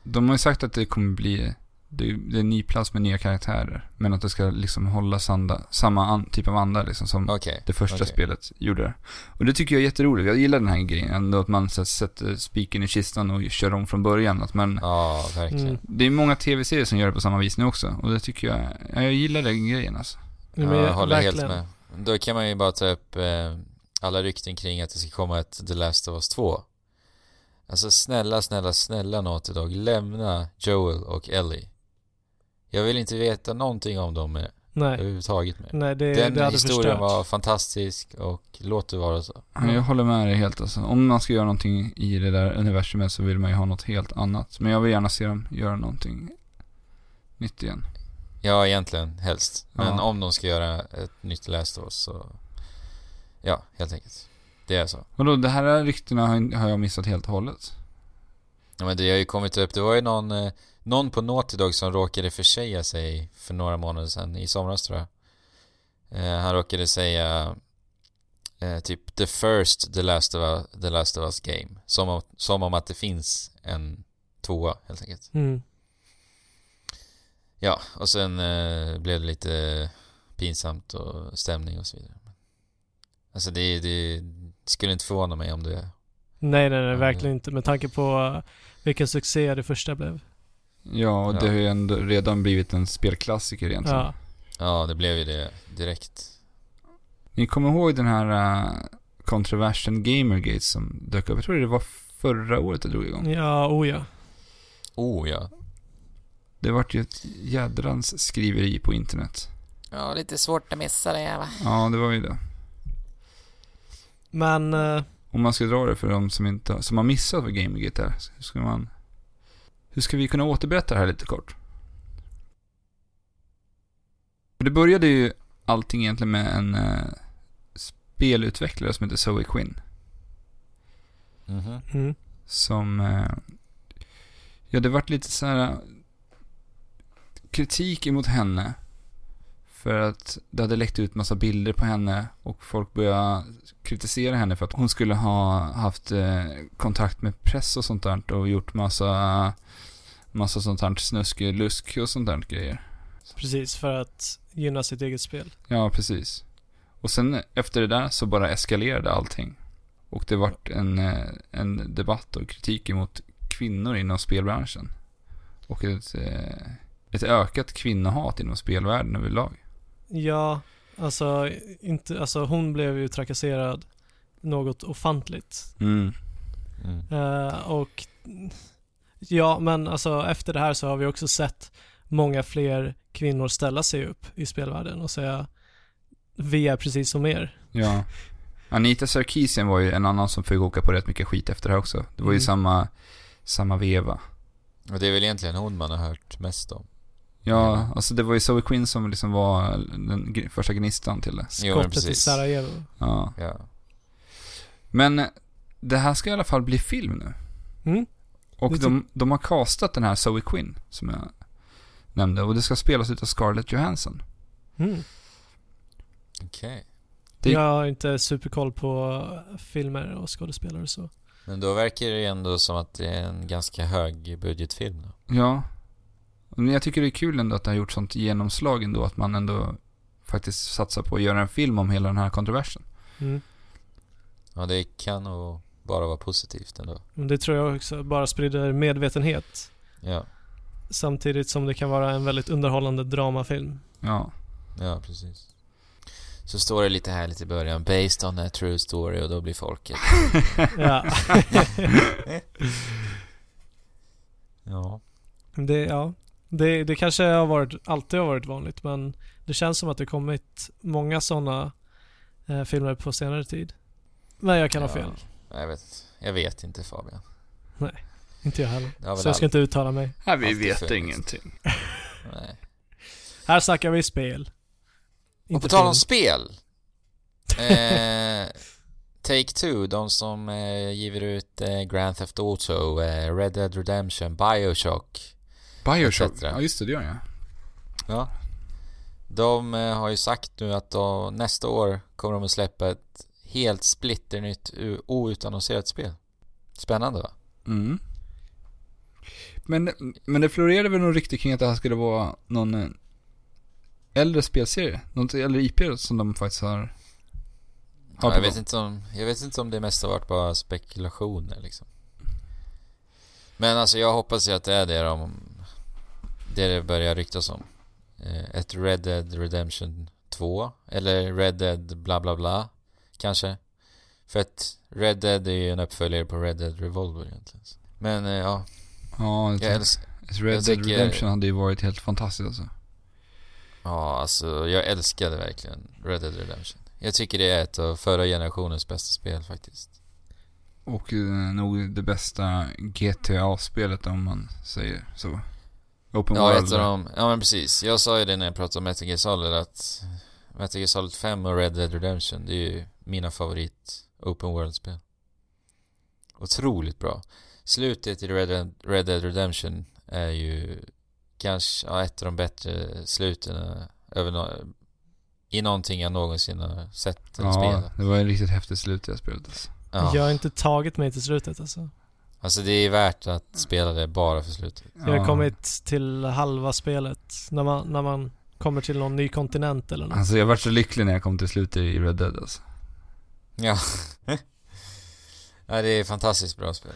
Speaker 1: De har ju sagt att det kommer bli det är, det är en ny plats med nya karaktärer. Men att det ska liksom hålla sanda, samma an, typ av anda liksom som
Speaker 3: Okej.
Speaker 1: det första
Speaker 3: okej.
Speaker 1: spelet gjorde. det. Och det tycker jag är jätteroligt. Jag gillar den här grejen. Ändå att man så, här sätter spiken i kistan och kör om från början. Att man,
Speaker 3: Ja, verkligen.
Speaker 2: Mm.
Speaker 1: det är många tv-serier som gör det på samma vis nu också. Och det tycker jag, ja, jag gillar den grejen alltså.
Speaker 2: Ja,
Speaker 3: Ja,
Speaker 2: men
Speaker 3: jag håller
Speaker 2: verkligen.
Speaker 3: helt med. Då kan man ju bara ta upp eh, alla rykten kring att det ska komma ett The Last of Us 2. Alltså snälla, snälla, snälla Naughty Dog, lämna Joel och Ellie. Jag vill inte veta någonting om dem mer,
Speaker 2: Nej,
Speaker 3: överhuvudtaget mer.
Speaker 2: nej det,
Speaker 3: Den
Speaker 2: det hade
Speaker 3: historien
Speaker 2: förstört.
Speaker 3: var fantastisk och låt det vara så.
Speaker 1: Ja, jag håller med dig helt alltså. Om man ska göra någonting i det där universumet så vill man ju ha något helt annat. Men jag vill gärna se dem göra någonting nytt igen.
Speaker 3: Ja, egentligen helst. Men
Speaker 1: Ja.
Speaker 3: om de ska göra ett nytt Last of Us så... Ja, helt enkelt. Det är så.
Speaker 1: Och då, det här ryktena har har jag missat helt och hållet.
Speaker 3: Ja men det har ju kommit upp, det var ju någon, eh, någon på Naughty Dog som råkade försäga sig för några månader sedan, i somras tror jag. Eh, han råkade säga eh, typ the first the last of us, the last of us game. Som om, som om att det finns en tvåa helt enkelt.
Speaker 2: Mm.
Speaker 3: Ja, och sen eh, blev det lite pinsamt och stämning och så vidare. Alltså det, det skulle inte förvåna mig om det...
Speaker 2: Nej, nej, nej,
Speaker 3: Ja.
Speaker 2: verkligen inte. Med tanke på eh, vilken succé det första blev.
Speaker 1: Ja, och det
Speaker 3: Ja.
Speaker 1: har ju ändå redan blivit en spelklassiker
Speaker 3: Alltså,
Speaker 1: egentligen.
Speaker 2: Ja.
Speaker 3: Ja, det blev ju det direkt.
Speaker 1: Ni kommer ihåg den här eh, kontroversen Gamergate som dök upp? Jag tror det var förra året det drog igång.
Speaker 2: ja, oh ja.
Speaker 3: Oh ja.
Speaker 1: Det vart ju ett jädrans skriveri på internet.
Speaker 3: Ja, lite svårt att missa det va?
Speaker 1: Ja, det var ju det.
Speaker 2: Men eh,
Speaker 1: Om man ska dra det för de som, inte, som har missat vad Gamergate är, hur ska man... Hur ska vi kunna återberätta det här lite kort? För det började ju allting egentligen med en eh, spelutvecklare som heter Zoe Quinn.
Speaker 3: Mhm.
Speaker 2: mm.
Speaker 1: som... eh, Ja, det vart lite så här eh, kritik emot henne. För att det hade läckt ut massa bilder på henne och folk började kritisera henne för att hon skulle ha haft eh, kontakt med press och sånt där och gjort massa, massa sånt där snuskelusk och sånt där grejer.
Speaker 2: precis för att gynna sitt eget spel.
Speaker 1: Ja, precis. Och sen efter det där så bara eskalerade allting. Och det vart en, eh, en debatt och kritik emot kvinnor inom spelbranschen. Och ett, eh, ett ökat kvinnohat inom spelvärlden överlag.
Speaker 2: Ja, alltså, inte, alltså hon blev ju trakasserad något ofantligt.
Speaker 1: Mm.
Speaker 3: Mm.
Speaker 2: Eh, och ja, men alltså efter det här så har vi också sett många fler kvinnor ställa sig upp i spelvärlden och säga vi är precis som er.
Speaker 1: Ja. Anita Sarkeesian var ju en annan som fick åka på rätt mycket skit efter det här också. Det var ju
Speaker 2: Mm.
Speaker 1: samma, samma veva.
Speaker 3: Och det är väl egentligen hon man har hört mest om.
Speaker 1: Ja,
Speaker 3: Ja.
Speaker 1: alltså det var ju Zoe Quinn som liksom var den gr- första gnistan till det.
Speaker 3: Jo, men
Speaker 2: Skottet i
Speaker 3: precis.
Speaker 2: Sarajevo.
Speaker 1: Ja.
Speaker 3: Ja.
Speaker 1: Men det här ska i alla fall bli film nu.
Speaker 2: Mm?
Speaker 1: Och
Speaker 2: Det
Speaker 1: de, de har castat den här Zoe Quinn, som jag nämnde. Och det ska spelas utav Scarlett Johansson.
Speaker 2: Mm.
Speaker 3: Okej.
Speaker 1: Det-
Speaker 2: Jag har inte superkoll på filmer och skådespelare och så.
Speaker 3: Men då verkar det ju ändå som att det är en ganska hög budgetfilm då.
Speaker 1: Ja. Men jag tycker det är kul ändå att det har gjort sånt genomslag ändå. Att man ändå faktiskt satsar på att göra en film om hela den här kontroversen.
Speaker 2: Mm.
Speaker 3: Ja, det kan nog bara vara positivt ändå.
Speaker 2: Men det tror jag också bara sprider medvetenhet.
Speaker 3: Ja,
Speaker 2: Samtidigt som det kan vara en väldigt underhållande dramafilm.
Speaker 1: Ja.
Speaker 3: ja precis. Så står det lite här lite i början, based on a true story och då blir folket...
Speaker 2: Ja.
Speaker 3: Ja.
Speaker 2: Det, ja. Det, det kanske har varit, alltid har varit vanligt men det känns som att det kommit många sådana eh, filmer på senare tid. Men jag kan ha
Speaker 3: Ja.
Speaker 2: fel.
Speaker 3: Nej, Jag vet, jag vet inte Fabian.
Speaker 2: Inte jag heller.
Speaker 3: Det har väl
Speaker 2: Så jag ska
Speaker 3: aldrig-
Speaker 2: inte uttala mig.
Speaker 1: Nej,
Speaker 3: vi vet ingenting. Nej.
Speaker 2: Här snackar vi spel.
Speaker 3: Och
Speaker 2: Inte
Speaker 3: på tal om
Speaker 2: film.
Speaker 3: spel. Eh, Take-Two, de som eh, giver ut eh, Grand Theft Auto, eh, Red Dead Redemption, Bioshock.
Speaker 1: Bioshock.
Speaker 3: Etcetera.
Speaker 1: Ja, just det, det gör jag.
Speaker 3: Ja. De eh, har ju sagt nu att de, nästa år kommer de att släppa ett helt splitternytt u- outannonserat spel. Spännande va?
Speaker 1: Mm. Men, men det florerade väl någon rykte kring att det här skulle vara någon eh, äldre spelserie? Något äldre IP som de faktiskt har... har
Speaker 3: Ja,
Speaker 1: på
Speaker 3: jag, vet
Speaker 1: gång.
Speaker 3: inte om, jag vet inte om det mest har varit bara spekulationer liksom. Men alltså jag hoppas ju att det är det de... Det det börjar ryktas om. Eh, Ett Red Dead Redemption 2. Eller Red Dead bla bla bla. Kanske. För att Red Dead är ju en uppföljare på Red Dead Revolver egentligen. Men eh, ja,
Speaker 1: Ja,
Speaker 3: jag
Speaker 1: jag
Speaker 3: älskar...
Speaker 1: Alltså, Red
Speaker 3: jag
Speaker 1: Dead
Speaker 3: tycker-
Speaker 1: Redemption hade ju varit helt fantastiskt alltså.
Speaker 3: Ja, alltså jag älskade verkligen Red Dead Redemption. Jag tycker det är ett av förra generationens bästa spel faktiskt.
Speaker 1: Och eh, nog det bästa GTA-spelet om man säger så. Open
Speaker 3: Ja,
Speaker 1: World.
Speaker 3: ett av dem. Ja, men precis. Jag sa ju det när jag pratade om Metal Gear Solid att Metal Gear Solid 5 och Red Dead Redemption, det är ju mina favorit open world-spel. Otroligt bra. Slutet i Red Dead, Red Dead Redemption är ju kanske ja, ett av de bättre sluten över nå- i någonting jag någonsin har sett eller
Speaker 1: Ja,
Speaker 3: spelat.
Speaker 1: det var ett riktigt häftigt slut i det här spelet alltså.
Speaker 3: Ja.
Speaker 2: Jag har inte tagit mig till slutet alltså.
Speaker 3: Alltså det är värt att spela det bara för slutet.
Speaker 2: Jag har
Speaker 1: Ja.
Speaker 2: kommit till halva spelet när man, när man kommer till någon ny kontinent eller något.
Speaker 1: Alltså jag vart så lycklig när jag kom till slutet i Red Dead alltså.
Speaker 3: Ja. ja, det är fantastiskt bra spel.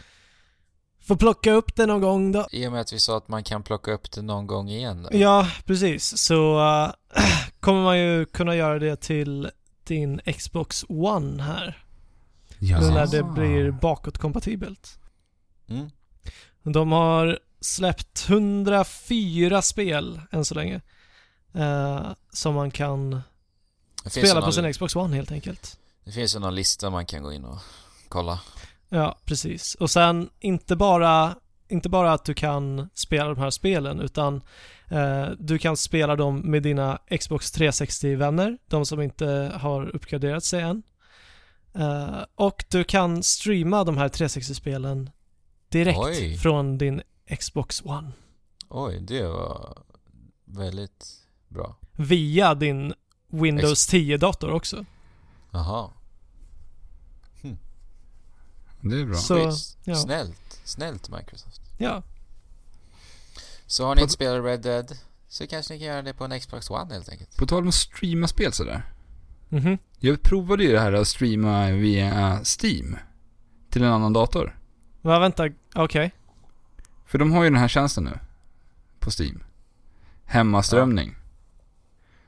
Speaker 2: Får plocka upp det någon gång då.
Speaker 3: I och med att vi sa att man kan plocka upp det någon gång igen då.
Speaker 2: Ja, precis. Så eh, kommer man ju kunna göra det till din Xbox One här.
Speaker 1: Ja.
Speaker 2: Nu när det blir bakåtkompatibelt.
Speaker 3: Mm.
Speaker 2: De har släppt 104 spel än så länge. eh, som man kan
Speaker 3: Det, finns ju
Speaker 2: spela på
Speaker 3: någon,
Speaker 2: sin Xbox One helt enkelt.
Speaker 3: det finns ju någon lista man kan gå in och kolla.
Speaker 2: Ja, precis. Och sen inte bara, inte bara att du kan spela de här spelen utan eh, du kan spela dem med dina Xbox 360-vänner, de som inte har uppgraderat sig än. Eh, och du kan streama de här 360-spelen direkt
Speaker 3: Oj.
Speaker 2: från din Xbox One
Speaker 3: Oj, det var väldigt bra.
Speaker 2: via din Windows 10-dator också.
Speaker 3: Jaha.
Speaker 1: Det är bra.
Speaker 2: Så-
Speaker 3: Schysst.
Speaker 2: ja.
Speaker 3: Snällt. Snällt Microsoft.
Speaker 2: Ja,
Speaker 3: Så har ni inte spelat Red Dead så kanske ni kan göra det på en Xbox One helt enkelt.
Speaker 1: På tal om att streama spel sådär.
Speaker 2: mhm.
Speaker 1: Jag provade ju det här att streama via Steam. Till en annan dator.
Speaker 2: Va, vänta, okej.
Speaker 1: För de har ju den här tjänsten nu. På Steam. Hemmaströmning.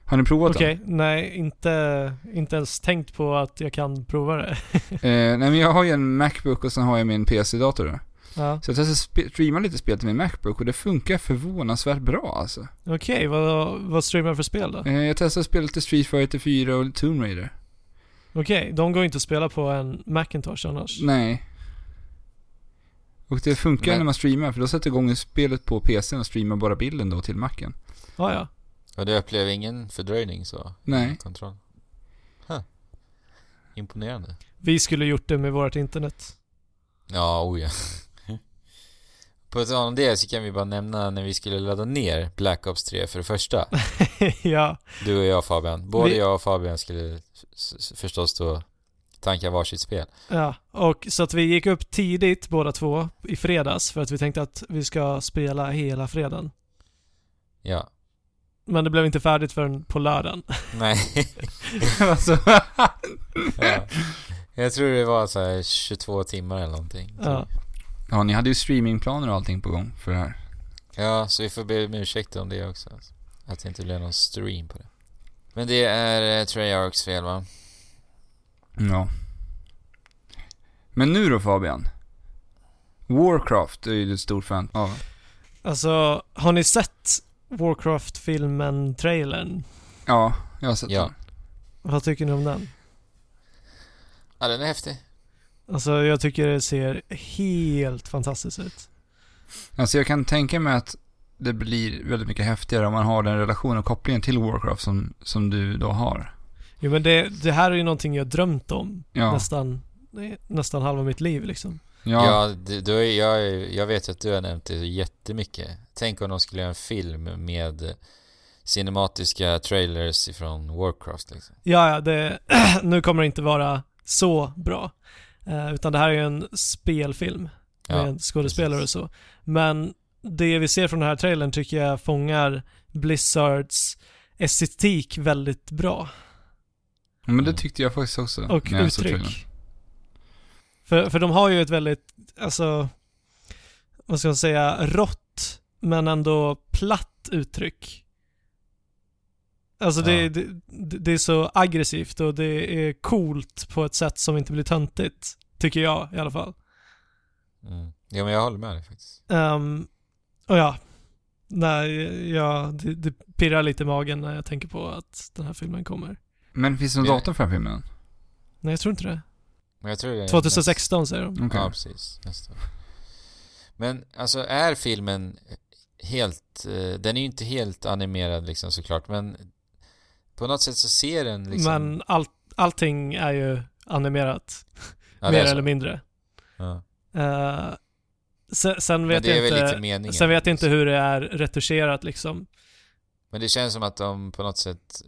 Speaker 1: Har ni provat den?
Speaker 2: Okej, nej, inte, inte ens tänkt på att jag kan prova det.
Speaker 1: Eh, nej men jag har ju en Macbook och sen har jag min PC-dator. då.
Speaker 2: ja.
Speaker 1: Så jag testade spe- streama lite spel till min Macbook och det funkar förvånansvärt bra alltså.
Speaker 2: Okej, vad, vad streamar du för spel då?
Speaker 1: Eh, jag testade spelet till Street Fighter 4 och Tomb Raider.
Speaker 2: Okej, de går ju inte att spela på en Macintosh annars.
Speaker 1: Nej. Och det funkar
Speaker 3: Men-
Speaker 1: när man streamar för då sätter igång spelet på PCn och streamar bara bilden då till Macen.
Speaker 2: Ah, ja,
Speaker 3: Och du upplever ingen fördröjning så?
Speaker 1: Nej.
Speaker 3: Kontroll. Huh. Imponerande.
Speaker 2: Vi skulle gjort det med vårt internet.
Speaker 3: Ja, oh ja. På tal om det så kan vi bara nämna när vi skulle ladda ner Black Ops 3 för det första.
Speaker 2: ja,
Speaker 3: Du och jag Fabian. Både
Speaker 2: Vi-
Speaker 3: jag och Fabian skulle s- s- förstås då tanka varsitt spel.
Speaker 2: ja. Och så att vi gick upp tidigt båda två i fredags för att vi tänkte att vi ska spela hela fredagen.
Speaker 3: Ja.
Speaker 2: Men det blev inte färdigt förrän på lördagen.
Speaker 3: Nej.
Speaker 1: alltså,
Speaker 3: ja. Jag tror det var så här 22 timmar eller någonting.
Speaker 2: Ja.
Speaker 1: ja, ni hade ju streamingplaner och allting på gång för det här.
Speaker 3: Ja, så vi får be om ursäkt om det också. alltså. Att det inte blev någon stream på det. Men det är eh, Treyarchs fel va?
Speaker 1: Ja. Men nu då Fabian? Warcraft är ju ett stort fan av.
Speaker 2: Alltså, har ni sett Warcraft-filmen-trailern?
Speaker 1: Ja, jag har sett
Speaker 3: Ja.
Speaker 1: den.
Speaker 2: Vad tycker ni om den?
Speaker 3: Ja, den är häftig.
Speaker 2: Alltså, jag tycker det ser helt fantastiskt ut.
Speaker 1: Alltså jag kan tänka mig att det blir väldigt mycket häftigare om man har den relationen och kopplingen till Warcraft som, som du då har.
Speaker 2: Jo, men det, det här är ju någonting jag drömt om
Speaker 1: Ja,
Speaker 2: nästan, nästan halva mitt liv liksom.
Speaker 1: ja,
Speaker 3: Ja, du, du, har ju- jag, är- jag vet ju att du har nämnt det jättemycket. Tänk om de skulle göra en film med eh, cinematiska trailers ifrån Warcraft liksom.
Speaker 2: Ja, ja, det, nu kommer det inte vara så bra. Eh, utan det här är ju en spelfilm
Speaker 3: Ja,
Speaker 2: med skådespelare och så. Men det vi ser från den här trailern tycker jag fångar Blizzards estetik väldigt bra.
Speaker 1: Ja, Men det tyckte jag faktiskt också.
Speaker 2: Och
Speaker 1: när jag såg trailern.
Speaker 2: uttryck. För, för de har ju ett väldigt, alltså, vad ska man säga, rått men ändå platt uttryck. Alltså det,
Speaker 3: Ja.
Speaker 2: det, det det är så aggressivt och det är coolt på ett sätt som inte blir töntigt. Tycker jag i alla fall.
Speaker 3: Mm. Ja, men jag håller med dig faktiskt.
Speaker 2: Ehm, och ja, nej, ja, det, det pirrar lite i magen när jag tänker på att den här filmen kommer.
Speaker 1: Men finns det någon
Speaker 3: Ja.
Speaker 1: datum för den här filmen?
Speaker 2: Nej, jag tror inte det.
Speaker 3: Men jag tror det är
Speaker 2: 2016 säger de.
Speaker 1: Okej.
Speaker 3: Ja, precis. Nästa. år. Men alltså är filmen helt... eh, Den är ju inte helt animerad liksom såklart, men på något sätt så ser den liksom...
Speaker 2: Men all, allting är ju animerat,
Speaker 3: Ja, det är
Speaker 2: mer
Speaker 3: så.
Speaker 2: eller mindre.
Speaker 3: Ja.
Speaker 2: Eh, sen, sen,
Speaker 3: Men
Speaker 2: vet
Speaker 3: det är
Speaker 2: jag
Speaker 3: väl lite
Speaker 2: inte,
Speaker 3: meningen.
Speaker 2: sen vet jag inte hur det är retuscherat liksom.
Speaker 3: Men det känns som att de på något sätt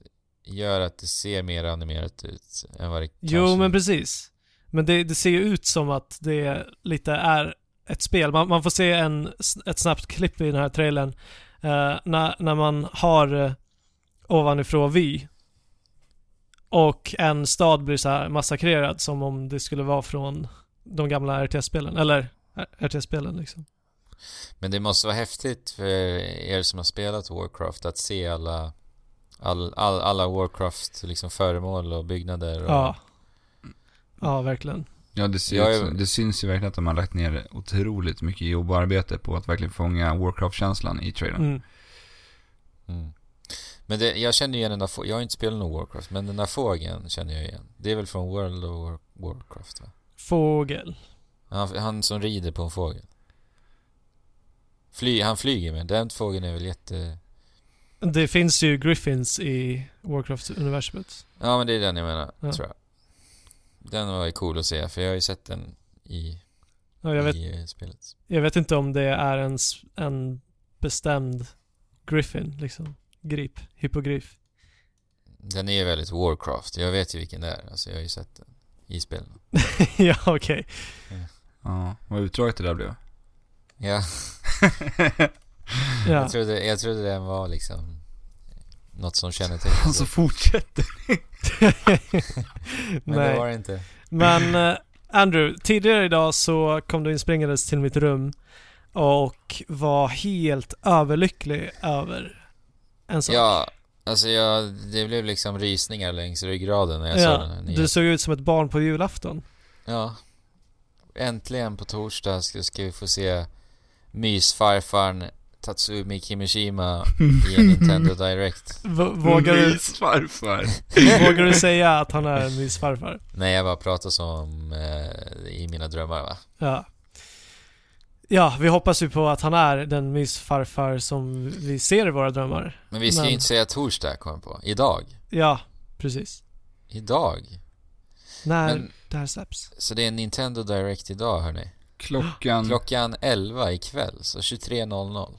Speaker 3: gör att det ser mer animerat ut än vad det
Speaker 2: Jo,
Speaker 3: kanske-
Speaker 2: men precis. Men det, det ser ju ut som att det lite är ett spel. Man, man får se en, ett snabbt klipp i den här trailern eh, när, när man har uh, ovanifrån vy och en stad blir så här massakrerad som om det skulle vara från de gamla RTS-spelen, eller eh, RTS-spelen liksom.
Speaker 3: Men det måste vara häftigt för er som har spelat Warcraft att se alla, all, all, alla Warcraft liksom föremål och byggnader. Och,
Speaker 2: Ja. Ja, verkligen.
Speaker 1: Ja, det, ser
Speaker 3: Jag
Speaker 1: ut
Speaker 3: är-
Speaker 1: som- det syns ju verkligen att de har lagt ner otroligt mycket jobb och arbete på att verkligen fånga Warcraft-känslan i trailern.
Speaker 2: Mm.
Speaker 3: Mm. Men det, jag känner igen den där fågeln. Jag har inte spelat någon Warcraft, men den där fågeln känner jag igen. Det är väl från World of War, Warcraft va?
Speaker 2: Fågel.
Speaker 3: Han, han som rider på en fågel. Fly, han flyger med. Den fågeln är väl jätte...
Speaker 2: Det finns ju Griffins i Warcraft-universumet.
Speaker 3: Ja men det är den jag menar,
Speaker 2: Ja.
Speaker 3: tror jag. Den var ju cool att se, för jag har ju sett den i,
Speaker 2: Ja, jag, vet,
Speaker 3: i eh, spelet.
Speaker 2: jag vet inte om det är en, s- en bestämd Griffin, liksom. Grip. Hippogriff.
Speaker 3: Den är ju väldigt Warcraft. Jag vet ju vilken det är. Alltså jag har ju sett den i spelen.
Speaker 2: ja, okej.
Speaker 1: Ja, vad utdraget det där blev.
Speaker 2: Ja.
Speaker 3: Ja, jag, trodde, jag trodde den var liksom något som kännetecknar.
Speaker 1: Alltså fortsätter.
Speaker 3: Men
Speaker 2: Nej.
Speaker 3: det var det inte.
Speaker 2: Men eh, Andrew, tidigare idag så kom du inspringandes till mitt rum och var helt överlycklig över en sak.
Speaker 3: Ja, alltså jag, det blev liksom rysningar längs ryggraden när jag
Speaker 2: Ja,
Speaker 3: såg den här nyheten.
Speaker 2: du såg ut som ett barn på julafton.
Speaker 3: Ja. Äntligen på torsdag ska, ska vi få se mysfarfarn Tatsumi Kimishima i en Nintendo Direct.
Speaker 2: V- vågar, du,
Speaker 1: farfar.
Speaker 2: vågar du säga att han är en viss farfar?
Speaker 3: Nej, jag bara pratar som eh, i mina drömmar va?
Speaker 2: Ja. Ja, vi hoppas ju på att han är den mysfarfar som vi ser i våra drömmar.
Speaker 3: Men vi ska
Speaker 2: Men-
Speaker 3: ju inte säga torsdag kom jag på. Idag.
Speaker 2: Ja, precis.
Speaker 3: Idag.
Speaker 2: När
Speaker 3: Men,
Speaker 2: det här släpps.
Speaker 3: så det är en Nintendo Direct idag hörni.
Speaker 2: Mm.
Speaker 1: Klockan...
Speaker 3: Klockan 11 ikväll, så 23.00.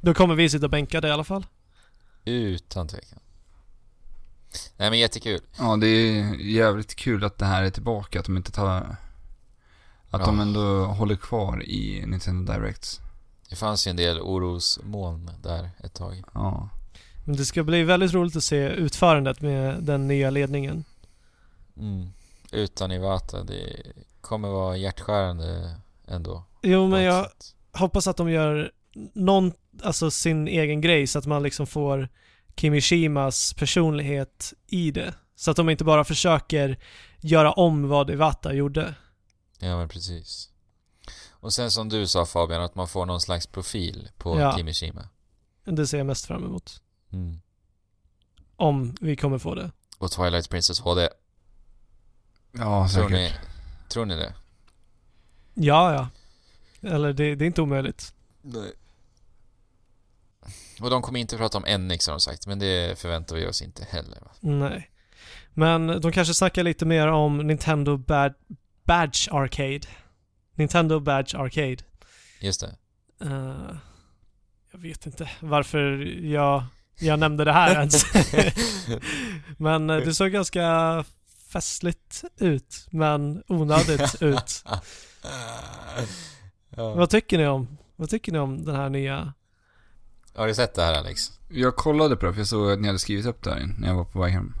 Speaker 2: Då kommer vi sitta bänkade i alla fall.
Speaker 3: Utan tvekan. Nej men jättekul.
Speaker 1: Ja, det är jävligt kul att det här är tillbaka. Att de inte tar... Att
Speaker 3: Ja.
Speaker 1: de ändå håller kvar i Nintendo Directs.
Speaker 3: Det fanns ju en del orosmoln där ett tag.
Speaker 1: Ja.
Speaker 2: Men det ska bli väldigt roligt att se utförandet med den nya ledningen.
Speaker 3: Mm. Utan Iwata, det kommer vara hjärtskärande ändå.
Speaker 2: Jo,
Speaker 3: på
Speaker 2: men
Speaker 3: ett
Speaker 2: jag
Speaker 3: sätt.
Speaker 2: hoppas att de gör någon, alltså sin egen grej så att man liksom får Kimishimas personlighet i det. Så att de inte bara försöker göra om vad Iwata gjorde.
Speaker 3: Ja men precis. Och sen som du sa Fabian, att man får någon slags profil på
Speaker 2: Ja.
Speaker 3: Kimishima.
Speaker 2: Det ser jag mest fram emot.
Speaker 3: Mm.
Speaker 2: Om vi kommer få det.
Speaker 3: Och Twilight Princess HD.
Speaker 1: Ja,
Speaker 3: Tror
Speaker 1: säkert.
Speaker 3: ni, tror ni det?
Speaker 2: Ja, ja. Eller det, det är inte omöjligt.
Speaker 3: Nej. Och de kommer inte prata om Enix har de sagt, men det förväntar vi oss inte heller. Va?
Speaker 2: Nej. Men de kanske snackar lite mer om Nintendo Bad Badge Arcade. Nintendo Badge Arcade.
Speaker 3: Just det.
Speaker 2: Eh, jag vet inte varför jag, jag nämnde det här ens. men eh, det såg ganska festligt ut, men onödigt ut.
Speaker 3: ja.
Speaker 2: Vad tycker ni om Vad tycker ni om den här nya?
Speaker 3: Har du sett det här Alex?
Speaker 1: Jag kollade på det för jag såg att ni hade skrivit upp det här när jag var på väg hem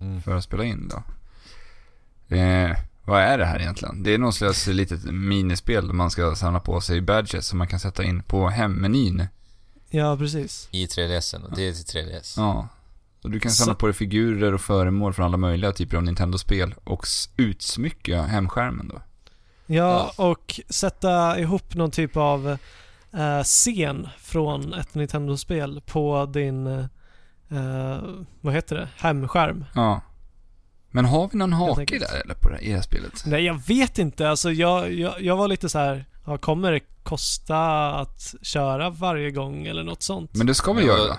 Speaker 3: Mm.
Speaker 1: för att spela in då. Eh, vad är det här egentligen? Det är någon slags litet minispel där man ska samla på sig badges som man kan sätta in på hemmenyn.
Speaker 2: Ja, precis.
Speaker 3: I 3DSen och det är till 3DS.
Speaker 1: Ja. Och du kan samla
Speaker 2: Så-
Speaker 1: på dig figurer och föremål från alla möjliga typer av Nintendo-spel och s- utsmycka hemskärmen då.
Speaker 2: Ja, och sätta ihop någon typ av eh, scen från ett Nintendo-spel på din, eh, vad heter det, hemskärm.
Speaker 1: Ja. Men har vi någon hake
Speaker 2: enkelt.
Speaker 1: där eller på det här, i det här spelet?
Speaker 2: Nej, jag vet inte. Alltså, jag, jag, jag var lite så här, ja, kommer det kosta att köra varje gång eller något sånt?
Speaker 1: Men det ska vi
Speaker 3: Men
Speaker 1: göra.
Speaker 3: vadå?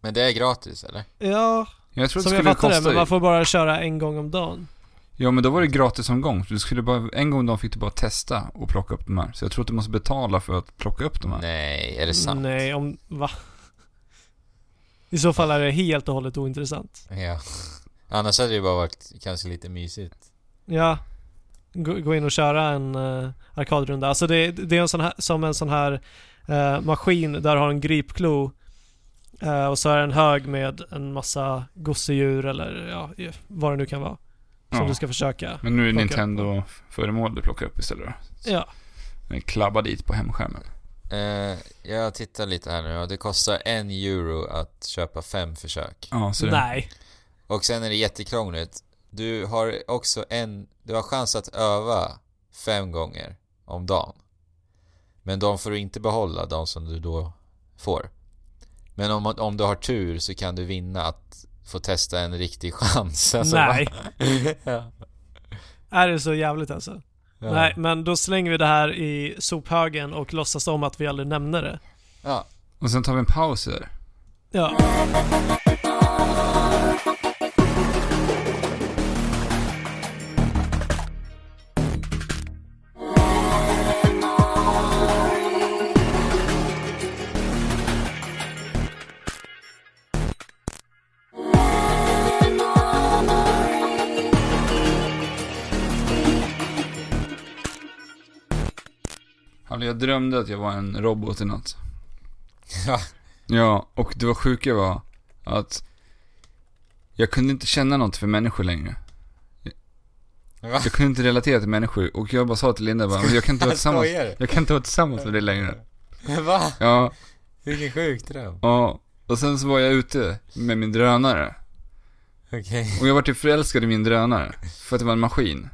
Speaker 3: Men det är gratis eller?
Speaker 2: ja,
Speaker 1: Jag tror att
Speaker 2: som
Speaker 1: det skulle
Speaker 2: jag fattar
Speaker 1: kosta...
Speaker 2: det, men man får bara köra en gång om dagen.
Speaker 1: Ja, men då var det gratis omgång. Du skulle bara, en gång om dagen fick du bara testa och plocka upp de här. Så jag tror att du måste betala för att plocka upp de här.
Speaker 3: Nej, är det sant?
Speaker 2: Nej, om... Va? I så fall är det helt och hållet ointressant.
Speaker 3: Ja. Annars hade det ju bara varit kanske lite mysigt.
Speaker 2: Ja. Gå, gå in och köra en uh, arkadrunda. Alltså det, det är en sån här, som en sån här eh, maskin där du har en gripklo eh, och så är det en hög med en massa gosedjur eller ja, i- vad det nu kan vara. Som
Speaker 1: Ja.
Speaker 2: du ska försöka.
Speaker 1: Men nu är
Speaker 2: Plocka
Speaker 1: Nintendo-föremål du plockar upp istället då.
Speaker 2: Ja.
Speaker 1: Men Klabba dit på hemskärmen.
Speaker 3: Eh, jag tittar lite här nu och det kostar en euro att köpa fem försök.
Speaker 1: Ja, så det.
Speaker 2: Nej.
Speaker 3: Och sen är det jättekrångligt. Du har också en... Du har chans att öva fem gånger om dagen. Men de får du inte behålla, de som du då får. Men om, om du har tur så kan du vinna att få testa en riktig chans. Alltså,
Speaker 2: Nej.
Speaker 3: ja.
Speaker 2: Är det så jävligt alltså?
Speaker 3: Ja.
Speaker 2: Nej, men då slänger vi det här i sophögen och låtsas om att vi aldrig nämner det.
Speaker 3: Ja.
Speaker 1: Och sen tar vi en paus där.
Speaker 2: Ja.
Speaker 1: Alltså, jag drömde att jag var en robot i natt.
Speaker 3: Ja.
Speaker 1: Ja, och det var sjuka var att jag kunde inte känna något för människor längre.
Speaker 3: Va?
Speaker 1: Jag kunde inte relatera till människor och jag bara sa till Linda bara, "Men jag kan inte vara tillsammans,
Speaker 3: Skojar du?
Speaker 1: jag kan inte vara tillsammans med dig längre.
Speaker 3: Va?
Speaker 1: Ja,
Speaker 3: Vilken sjuk dröm.
Speaker 1: ja. Och sen så var jag ute med min drönare.
Speaker 3: Okej.
Speaker 1: Och jag var typ förälskad i min drönare. För att det var en maskin.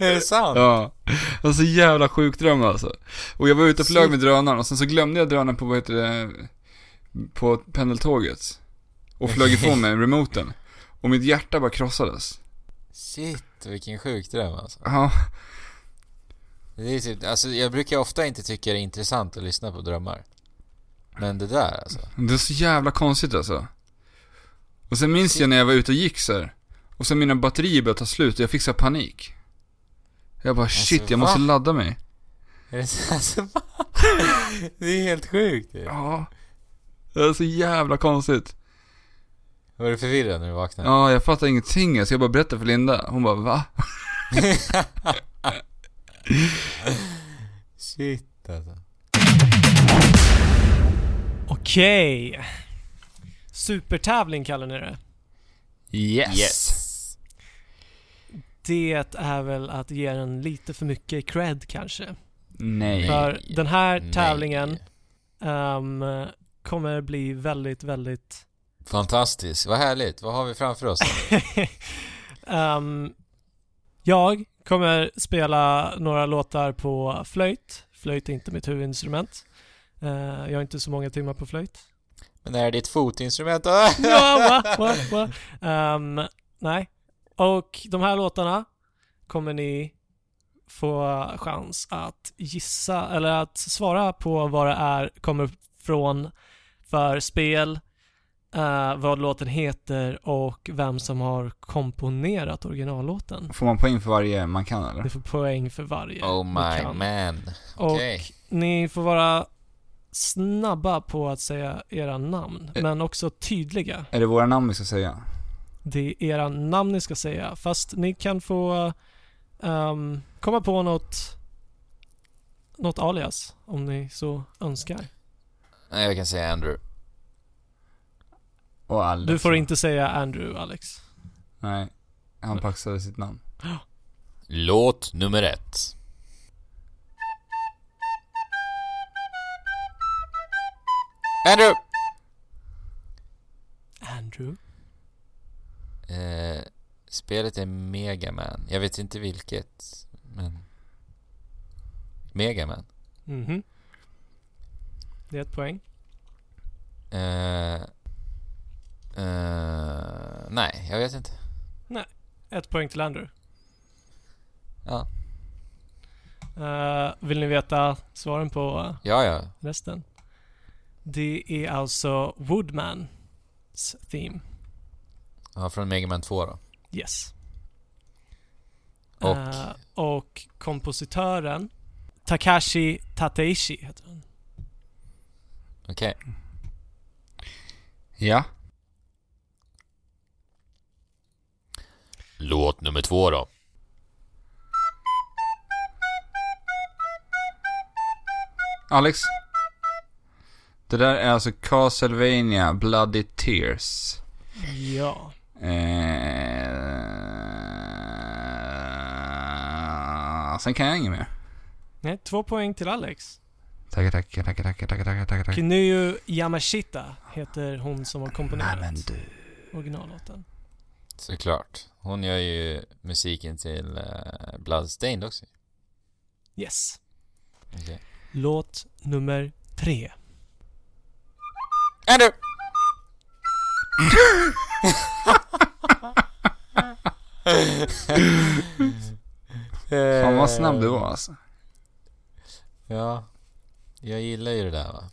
Speaker 3: Är det sant?
Speaker 1: Ja. Det var så jävla sjuk dröm alltså. Och jag var ute och flög med drönaren och sen så glömde jag drönaren på, vad heter det, på pendeltåget. Och flög ifrån mig, remoten. Och mitt hjärta bara krossades.
Speaker 3: Shit, vilken sjuk dröm alltså.
Speaker 1: Ja,
Speaker 3: Det är typ, alltså. Jag brukar ofta inte tycka det är intressant att lyssna på drömmar. Men det där alltså.
Speaker 1: det är så jävla konstigt alltså. Och sen minns jag när jag var ute och gick så här. Och sen mina batterier började ta slut och jag fick så här panik. Jag bara shit, jag måste
Speaker 3: va?
Speaker 1: ladda mig.
Speaker 3: Är det så- alltså, va? Det är helt sjukt typ. ju.
Speaker 1: Ja. Det är så jävla konstigt.
Speaker 3: Var du förvirrad när du vaknade?
Speaker 1: Ja, jag fattar ingenting. Så jag bara berättade för Linda. Hon bara, va?
Speaker 3: Shit alltså.
Speaker 2: Okej. Supertävling kallar ni det.
Speaker 1: Yes.
Speaker 3: Yes.
Speaker 2: Det är väl att ge den lite för mycket cred kanske.
Speaker 1: Nej.
Speaker 2: För den här
Speaker 3: Nej.
Speaker 2: tävlingen ehm, kommer bli väldigt, väldigt...
Speaker 3: Fantastiskt, vad härligt. Vad har vi framför oss?
Speaker 2: Ehm, jag kommer spela några låtar på flöjt. Flöjt är inte mitt huvudinstrument. Eh, jag har inte så många timmar på flöjt.
Speaker 3: Men är det ett fotinstrument?
Speaker 2: Ja, va, va, va. Ehm, nej. Och de här låtarna kommer ni få chans att gissa eller att svara på vad det är kommer från för spel, eh, vad låten heter och vem som har komponerat originallåten.
Speaker 1: Får man poäng för varje man kan eller?
Speaker 2: Ni får poäng för varje.
Speaker 3: Oh
Speaker 2: ni
Speaker 3: my
Speaker 2: kan.
Speaker 3: man.
Speaker 2: Och
Speaker 3: Okej.
Speaker 2: ni får vara snabba på att säga era namn,
Speaker 1: Eh.
Speaker 2: men också tydliga.
Speaker 1: Är det våra namn vi ska säga?
Speaker 2: Det är era namn ni ska säga, fast ni kan få ehm, komma på något, något alias om ni så önskar.
Speaker 3: Nej, jag kan säga Andrew.
Speaker 1: Och Alex.
Speaker 2: Du får inte säga Andrew, Alex.
Speaker 1: Nej. Han paxade sitt namn.
Speaker 3: Låt nummer ett. Andrew!
Speaker 2: Andrew?
Speaker 3: Eh, spelet är Mega Man. Jag vet inte vilket, men... Mega Man.
Speaker 2: Mhm. Det är ett poäng.
Speaker 3: Eh, eh, nej, jag vet inte.
Speaker 2: Ett poäng till Andrew.
Speaker 3: Ja,
Speaker 2: Eh, vill ni veta svaren på eh,
Speaker 3: ja. ja.
Speaker 2: resten? Det är alltså Woodmans theme.
Speaker 3: ja från Mega Man 2 då.
Speaker 2: Yes.
Speaker 3: Och?
Speaker 2: Eh, och kompositören Takashi Tateishi heter han.
Speaker 3: Okej.
Speaker 1: Ja.
Speaker 3: Låt nummer två då.
Speaker 1: Alex. Det där är alltså Castlevania Bloody Tears.
Speaker 2: Ja.
Speaker 1: Eh... Sen kan jag inget mer.
Speaker 2: Nej, två poäng till Alex.
Speaker 1: Tackar, tackar, tackar, tackar, tackar, tackar, tackar.
Speaker 3: Mm.
Speaker 1: tackar.
Speaker 2: Kinuyo Yamashita heter hon som har komponerat
Speaker 1: Nej men du.
Speaker 2: originallåten.
Speaker 3: Såklart. Hon gör ju musiken till eh, Bloodstained också.
Speaker 2: Yes.
Speaker 3: Okej.
Speaker 2: Låt nummer tre.
Speaker 3: Andrew!
Speaker 1: Fan vad snabb du var alltså.
Speaker 3: Eh, Ja. Jag gillar ju det där va.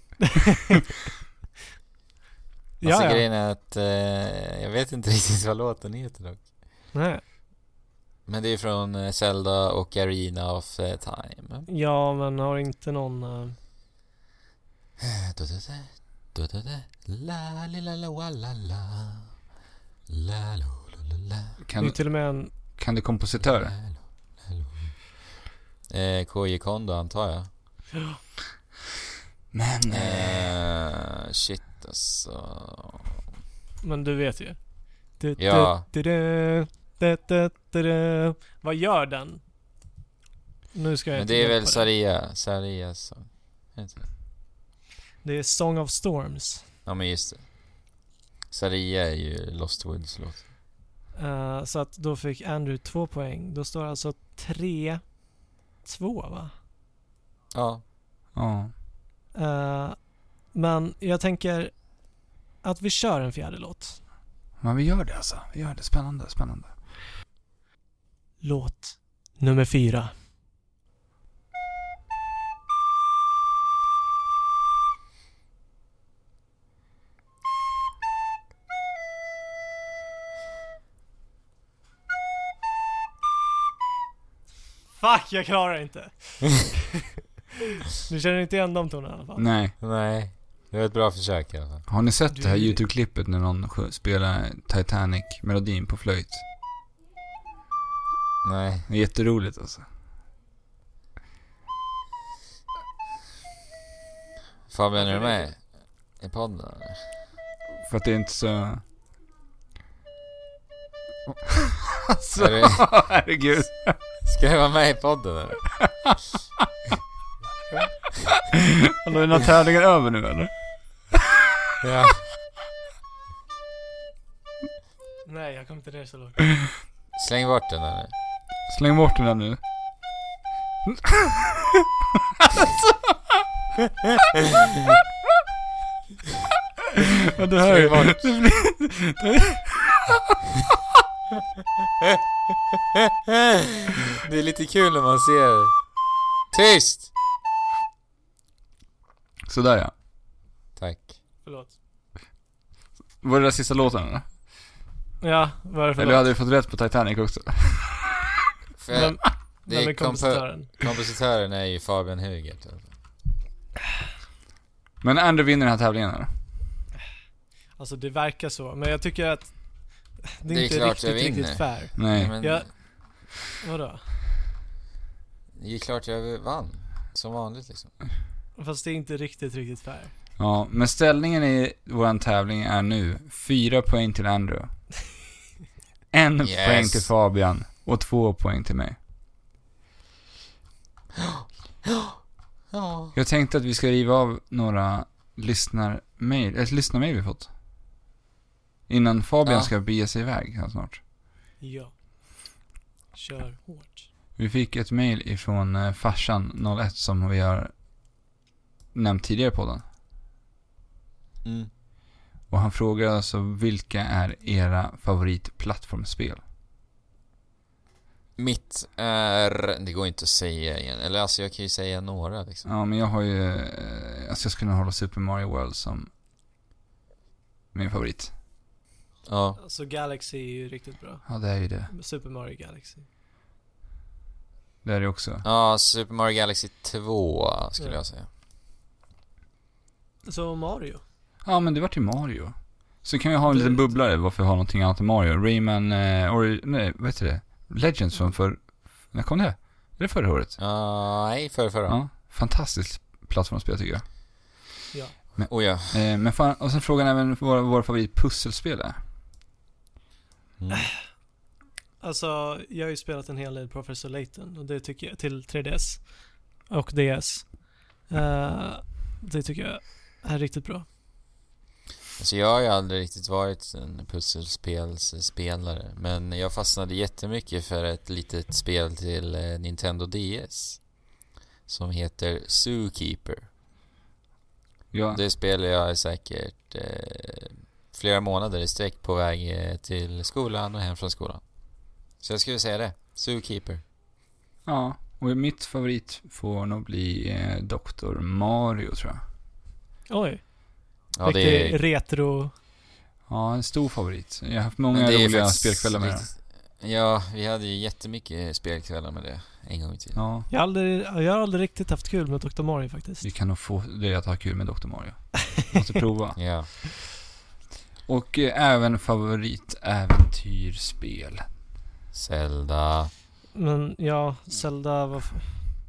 Speaker 2: Ja,
Speaker 3: alltså
Speaker 2: ja.
Speaker 3: grejen är att eh, jag vet inte riktigt vad låten heter dock.
Speaker 2: Nej.
Speaker 3: Men det är från eh, Zelda och Arena of eh, Time.
Speaker 2: Ja, men har inte någon... eh,
Speaker 3: Du-du-du, du-du-du, la li la la wa la la. La lo lo lo la.
Speaker 2: Det är
Speaker 1: Kan,
Speaker 2: till och med en...
Speaker 1: kan du kompositörer?
Speaker 3: la, lo, la, lo. Eh, KJ Kondo antar jag.
Speaker 1: Men... Eh...
Speaker 3: Eh, shit alltså.
Speaker 2: Men du vet ju. Du, du,
Speaker 3: Ja.
Speaker 2: du, du, du, du, du, du. Vad gör den? Nu ska jag
Speaker 3: Men
Speaker 2: inte
Speaker 3: det är
Speaker 2: hjälpa
Speaker 3: väl
Speaker 2: dig.
Speaker 3: Saria, Saria som... heter det.
Speaker 2: Det är Song of Storms.
Speaker 3: Ja men just det. Saria är ju Lost Woods låt.
Speaker 2: Eh, så att då fick Andrew två poäng. Då står det alltså 3-2 va?
Speaker 3: Ja.
Speaker 1: Ja.
Speaker 2: Eh, men jag tänker att vi kör en fjärde låt.
Speaker 1: Men vi gör det alltså. Vi gör det. Spännande, spännande.
Speaker 2: Låt nummer fyra. Fuck, jag klarar inte. du känner inte igen de tonerna i alla fall?
Speaker 1: Nej.
Speaker 3: Nej. Det var ett bra försök i alla fall.
Speaker 1: Har ni sett det här
Speaker 2: Du-
Speaker 1: YouTube-klippet när någon sj- spelar Titanic-melodin på flöjt?
Speaker 3: Nej.
Speaker 1: Det är jätteroligt alltså.
Speaker 3: Fabian, är du med i podden eller?
Speaker 1: För att det är inte så...
Speaker 3: Är
Speaker 1: alltså,
Speaker 3: du,
Speaker 1: herregud.
Speaker 3: ska du vara med i podden eller?
Speaker 1: Alltså, är den här tävlingen över nu eller?
Speaker 3: Ja.
Speaker 2: Nej, jag kom inte ner så långt.
Speaker 3: Släng bort den eller?
Speaker 1: Släng bort den där nu. Ja, du hör ju.
Speaker 3: Släng bort. Det är lite kul när man ser... Tyst!
Speaker 1: Sådär ja.
Speaker 3: Tack.
Speaker 2: Förlåt.
Speaker 1: Var det där sista låten eller?
Speaker 2: Ja, vad är det för
Speaker 1: Eller
Speaker 2: låt?
Speaker 1: hade du fått rätt på Titanic också?
Speaker 3: För
Speaker 2: Vem,
Speaker 3: det
Speaker 2: vem
Speaker 3: är
Speaker 2: är
Speaker 3: kompo-
Speaker 2: kompositören?
Speaker 3: kompositören är ju Fabian Hugert. alltså.
Speaker 1: Men Andrew vinner den här tävlingen eller?
Speaker 2: Alltså det verkar så, men jag tycker att det är,
Speaker 3: Det är
Speaker 2: inte
Speaker 3: klart jag
Speaker 2: riktigt,
Speaker 3: vinner.
Speaker 2: riktigt fair.
Speaker 1: Nej.
Speaker 3: Men,
Speaker 2: Ja. Vadå?
Speaker 3: Det är klart jag vann. Som vanligt liksom.
Speaker 2: Fast det är inte riktigt, riktigt fair.
Speaker 1: Ja, men ställningen i vår tävling är nu fyra poäng till Andrew. En
Speaker 3: Yes.
Speaker 1: poäng till Fabian och två poäng till mig.
Speaker 3: Ja.
Speaker 1: Jag tänkte att vi ska riva av några lyssnarmail, ett lyssnarmail vi fått. Innan Fabian
Speaker 3: Ja.
Speaker 1: ska bege sig iväg här snart.
Speaker 2: Ja. Kör hårt.
Speaker 1: Vi fick ett mail ifrån eh, farsan 01 som vi har nämnt tidigare på den.
Speaker 3: Mm.
Speaker 1: Och han frågar alltså vilka är era favoritplattformsspel?
Speaker 3: Mitt är... Det går inte att säga igen. Eller alltså jag kan ju säga några liksom.
Speaker 1: Ja, men jag har ju... eh, Alltså jag skulle nog hålla Super Mario World som min favorit.
Speaker 3: Ja.
Speaker 2: Alltså Galaxy är ju riktigt bra.
Speaker 1: Ja, det är ju det.
Speaker 2: Super Mario Galaxy.
Speaker 1: Det är det också.
Speaker 3: Ja, Super Mario Galaxy 2 skulle jag säga.
Speaker 2: Så Mario.
Speaker 1: Ja, men det var till Mario. Så kan vi ha en liten
Speaker 2: Absolut.
Speaker 1: bubblare varför vi har någonting annat än Mario. Rayman, eh, Ori- nej, vad heter det? Legends från för... När kom det? Är det förra året?
Speaker 3: Ja, nej, förra, förra.
Speaker 1: Ja. Fantastiskt plattformsspel tycker jag.
Speaker 2: Ja.
Speaker 3: Oh, ja.
Speaker 1: Eh, men fan, och sen frågan även vår, vår favoritpusselspel är.
Speaker 3: Mm.
Speaker 2: Alltså, jag har ju spelat en hel del Professor Layton och det tycker jag, till 3DS och DS. Eh, det tycker jag är riktigt bra.
Speaker 3: Alltså jag har ju aldrig riktigt varit en pusselspelsspelare men jag fastnade jättemycket för ett litet spel till eh, Nintendo DS som heter Zookeeper.
Speaker 1: Ja,
Speaker 3: Det spelade jag säkert eh, flera månader i sträck på väg eh, till skolan och hem från skolan. Så jag skulle säga det. Zookeeper.
Speaker 1: ja. Och mitt favorit får nog bli eh, Dr. Mario tror jag.
Speaker 2: Oj,
Speaker 3: Ja, det
Speaker 2: riktig
Speaker 3: är,
Speaker 2: retro.
Speaker 1: Ja, en stor favorit. Jag har haft många
Speaker 3: men det är
Speaker 1: roliga
Speaker 3: faktiskt
Speaker 1: spelkvällar med det.
Speaker 3: riktigt- Ja, vi hade ju jättemycket spelkvällar med det en gång i tiden.
Speaker 1: Ja,
Speaker 2: Jag har, aldrig, jag har aldrig riktigt haft kul med Dr. Mario faktiskt.
Speaker 1: vi kan nog få dig att ha kul med Dr. Mario. Måste prova.
Speaker 3: Ja.
Speaker 1: Och eh, även favoritäventyrsspel.
Speaker 3: Zelda.
Speaker 2: Men ja, Zelda var... f-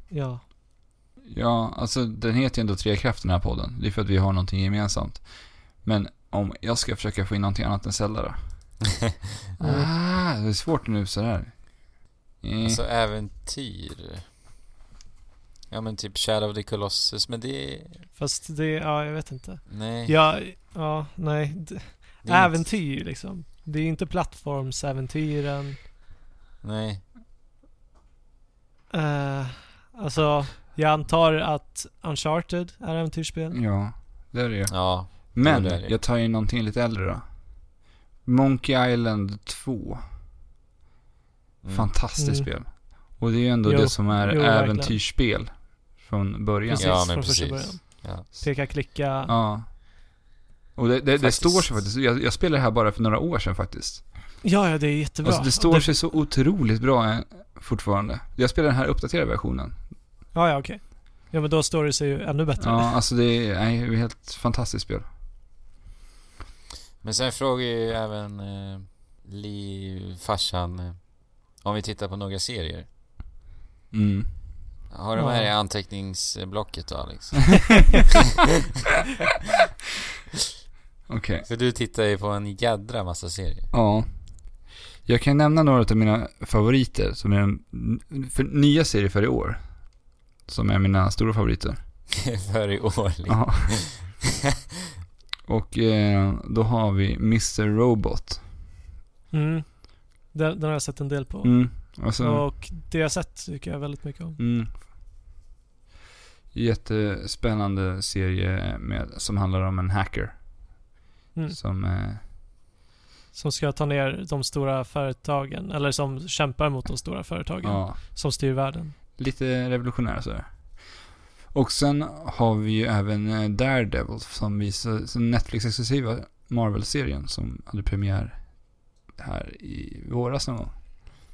Speaker 2: Ja.
Speaker 1: Ja, alltså den heter ju ändå Tre krafter den här podden. Det är för att vi har någonting gemensamt. Men om jag ska försöka få in någonting annat än Zelda då?
Speaker 3: Mm.
Speaker 2: Eh,
Speaker 1: Ah, det är svårt nu sådär. Eh,
Speaker 2: Mm.
Speaker 3: Alltså äventyr. Ja men typ Shadow of the Colossus, men det...
Speaker 2: Fast det, ja jag vet inte.
Speaker 3: Nej.
Speaker 2: Ja, ja nej. D-
Speaker 3: det är inte-
Speaker 2: äventyr liksom. Det är ju inte plattformsäventyren.
Speaker 3: Nej.
Speaker 2: Uh, alltså, jag antar att Uncharted är äventyrsspel.
Speaker 1: Ja, det är det ju.
Speaker 3: Ja.
Speaker 1: Men
Speaker 3: det är det.
Speaker 1: jag tar in någonting lite äldre då. Monkey Island 2.
Speaker 3: Mm.
Speaker 1: Fantastiskt
Speaker 2: Mm.
Speaker 1: spel. Och det är ju ändå
Speaker 2: Jo,
Speaker 1: det som är
Speaker 2: jo, verkligen.
Speaker 1: äventyrsspel från början.
Speaker 2: Precis,
Speaker 1: Ja.
Speaker 3: Ja men
Speaker 2: från första
Speaker 3: precis.
Speaker 2: början.
Speaker 3: Ja.
Speaker 2: Peka, klicka.
Speaker 1: Och det, det, det
Speaker 3: Faktiskt.
Speaker 1: står sig faktiskt. Jag, jag spelade det här bara för några år sedan faktiskt.
Speaker 2: Ja, ja, det är jättebra.
Speaker 1: Alltså det står sig så otroligt bra eh, fortfarande. Jag spelar den här uppdaterade versionen.
Speaker 2: Ja, ja, okej. Ja, men då står det sig ju ännu bättre.
Speaker 1: Ja, alltså det är nej, det är ett helt fantastiskt spel.
Speaker 3: Men sen frågar ju även eh, Li, farsan, eh, om vi tittar på några serier.
Speaker 1: Mm.
Speaker 3: Har du med
Speaker 2: Ja.
Speaker 3: dig anteckningsblocket då liksom? Alex?
Speaker 1: Okej.
Speaker 3: För du tittar ju på en jädra massa serier.
Speaker 1: Ja. Jag kan nämna några av mina favoriter som är n- för, nya serier för i år. Som är mina stora favoriter.
Speaker 3: för i år liksom.
Speaker 1: Ja. Och eh, då har vi Mr. Robot.
Speaker 2: Mm. Den, den har jag sett en del på.
Speaker 1: Mm. Alltså,
Speaker 2: Och det jag sett tycker jag väldigt mycket om.
Speaker 1: mm. Jättespännande serie med, som handlar om en hacker.
Speaker 2: Mm.
Speaker 1: Som eh,
Speaker 2: Som ska ta ner de stora företagen, eller som kämpar mot de stora företagen
Speaker 1: Ja,
Speaker 2: som styr världen.
Speaker 1: lite revolutionär så. Och sen har vi ju även eh, Daredevil som visar som Netflix-exklusiva Marvel-serien som hade premiär här i våras någon gång.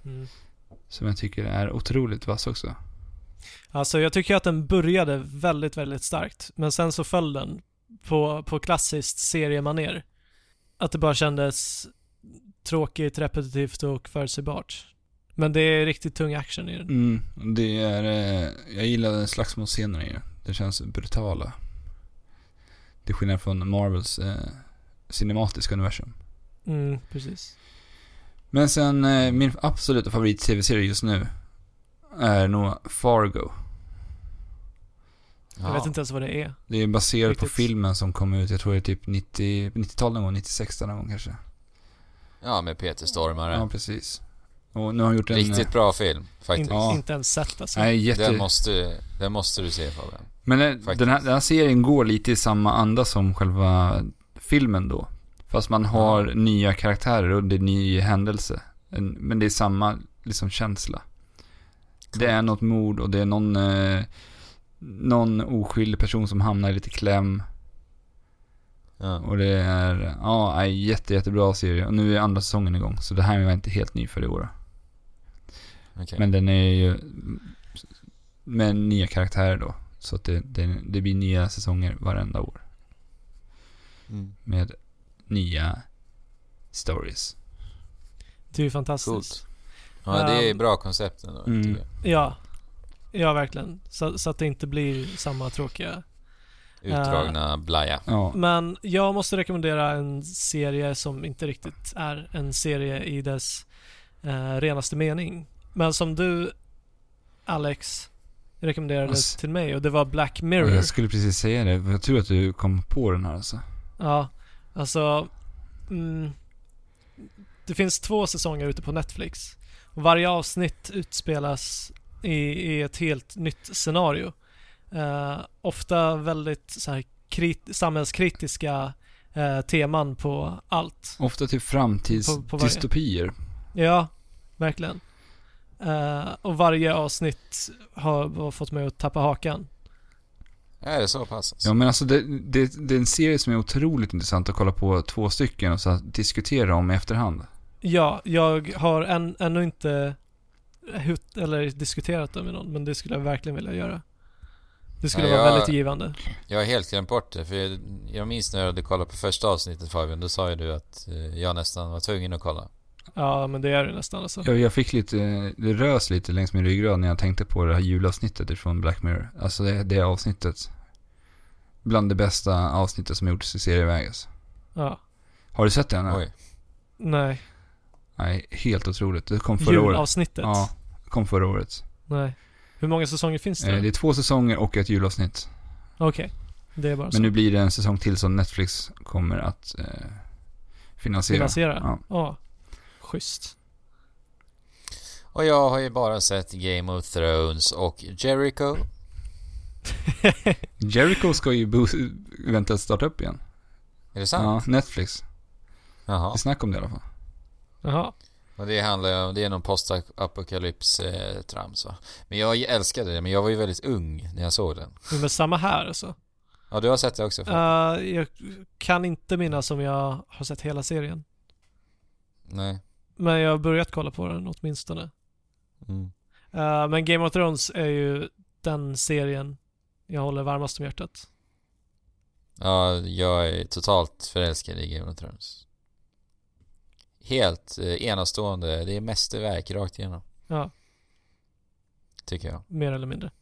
Speaker 2: Mm.
Speaker 1: Som jag tycker är otroligt vass också.
Speaker 2: Alltså jag tycker att den började väldigt, väldigt starkt. Men sen så föll den på, på klassiskt seriemaner. Att det bara kändes tråkigt, repetitivt och förutsägbart. Men det är riktigt tung action i den.
Speaker 1: Mm, det är... eh, Jag gillar slagsmålscenerna i det. Det känns brutala. Till skillnad från Marvels eh, cinematiska universum.
Speaker 2: Mm, precis.
Speaker 1: Men sen, eh, min absoluta favorit-tv-serie just nu är nog Fargo.
Speaker 2: Jag vet inte ens vad det är.
Speaker 1: Det är baserat på
Speaker 2: Riktigt.
Speaker 1: filmen som kom ut, jag tror det är typ 90, 90-tal någon gång, 96 någon gång kanske.
Speaker 3: Ja, med Peter Stormare.
Speaker 1: Ja, precis. Och nu har han gjort en...
Speaker 3: Riktigt bra film,
Speaker 2: In,
Speaker 3: faktiskt.
Speaker 1: Ja.
Speaker 2: Inte ens sett alltså.
Speaker 1: Nej, jätte...
Speaker 3: Den, måste, den måste du se Fabian.
Speaker 1: Men eh,
Speaker 3: Faktiskt.
Speaker 1: den här, den här serien går lite i samma anda som själva filmen då. Fast man har nya karaktärer och det är ny händelse. En- Men det är samma liksom känsla. Det är något mord och det är någon, eh, någon oskyldig person som hamnar i lite kläm.
Speaker 3: Ja.
Speaker 1: Och det är, ja, nej, jätte, jättebra serie. Och nu är andra säsongen igång. Så det här var inte helt ny för i år.
Speaker 3: okej.
Speaker 1: Men den är ju med nya karaktärer då. Så att det, det, det blir nya säsonger varenda år.
Speaker 3: Mm.
Speaker 1: med nya stories.
Speaker 2: Det är ju fantastiskt.
Speaker 3: Coolt. Ja, det är bra koncept ändå,
Speaker 1: Mm.
Speaker 3: tycker jag.
Speaker 2: Ja. Ja, verkligen. Så, så att det inte blir samma tråkiga.
Speaker 3: Utdragna blaja.
Speaker 1: Ja,
Speaker 2: Men jag måste rekommendera en serie som inte riktigt är en serie i dess eh, renaste mening. Men som du, Alex, rekommenderade
Speaker 1: Ass-
Speaker 2: till mig och det var Black
Speaker 1: och
Speaker 2: Mirror.
Speaker 1: jag skulle precis säga det. Jag tror att du kom på den här alltså.
Speaker 2: Ja, alltså... Mm, det finns två säsonger ute på Netflix. Och varje avsnitt utspelas i, i ett helt nytt scenario. Eh, ofta väldigt så här, krit, samhällskritiska eh, teman på allt.
Speaker 1: Ofta typ till
Speaker 2: På- på varje.
Speaker 1: framtidsdystopier.
Speaker 2: Ja, verkligen. Eh, och varje avsnitt har, har fått mig att tappa hakan.
Speaker 3: Ja, det är så pass alltså.
Speaker 1: Ja men alltså det, det, det är en serie som är otroligt intressant att kolla på två stycken och så att diskutera om i efterhand.
Speaker 2: Ja, jag har än, ännu inte hut, eller diskuterat det med någon, men det skulle jag verkligen vilja göra. Det skulle
Speaker 3: Ja,
Speaker 2: vara
Speaker 3: jag-
Speaker 2: väldigt givande.
Speaker 3: Jag har helt glömt bort det, för jag, jag minns när du kollade på första avsnittet Fabian, då sa ju du att eh, jag nästan var tvungen att kolla.
Speaker 2: Ja, men det är det nästan alltså.
Speaker 1: Jag, jag fick lite, det rös lite längs min ryggrad när jag tänkte på det här julavsnittet från Black Mirror. Alltså det, det avsnittet. Bland det bästa avsnittet som gjorts i serieväg. alltså.
Speaker 2: Ja.
Speaker 1: Har du sett den? här?
Speaker 3: Oj.
Speaker 2: Nej.
Speaker 1: Nej, helt otroligt. Det kom förra året.
Speaker 2: Julavsnittet?
Speaker 1: Ja, kom förra året.
Speaker 2: Nej. Hur många säsonger finns det?
Speaker 1: Eh, Det är två säsonger och ett julavsnitt.
Speaker 2: Okej. Det är bara så.
Speaker 1: Men nu blir det en säsong till som Netflix kommer att eh, finansiera.
Speaker 2: Finansiera?
Speaker 1: Ja.
Speaker 2: Ja. ja. Schysst.
Speaker 3: Och jag har ju bara sett Game of Thrones och Jericho.
Speaker 1: Jericho ska ju bo- vänta att starta upp igen.
Speaker 3: Är det
Speaker 1: Ja,
Speaker 3: sant?
Speaker 1: Netflix.
Speaker 3: Jaha.
Speaker 1: Vi snackar om det i alla fall.
Speaker 2: Jaha.
Speaker 3: Och det handlar ju om, det är någon postapokalyps-trams va? Men jag älskade det, men jag var ju väldigt ung när jag såg den.
Speaker 2: Men samma här alltså.
Speaker 3: Ja, du har sett det också?
Speaker 2: Eh,
Speaker 3: Fabian?
Speaker 2: jag kan inte minnas om jag har sett hela serien.
Speaker 3: Nej.
Speaker 2: Men jag har börjat kolla på den åtminstone.
Speaker 3: Mm.
Speaker 2: Eh, men Game of Thrones är ju den serien jag håller varmast om hjärtat.
Speaker 3: Ja, jag är totalt förälskad i Game of Thrones. Helt eh, enastående. Det är mästerverk rakt igenom.
Speaker 2: Ja.
Speaker 3: Tycker jag.
Speaker 2: Mer eller mindre.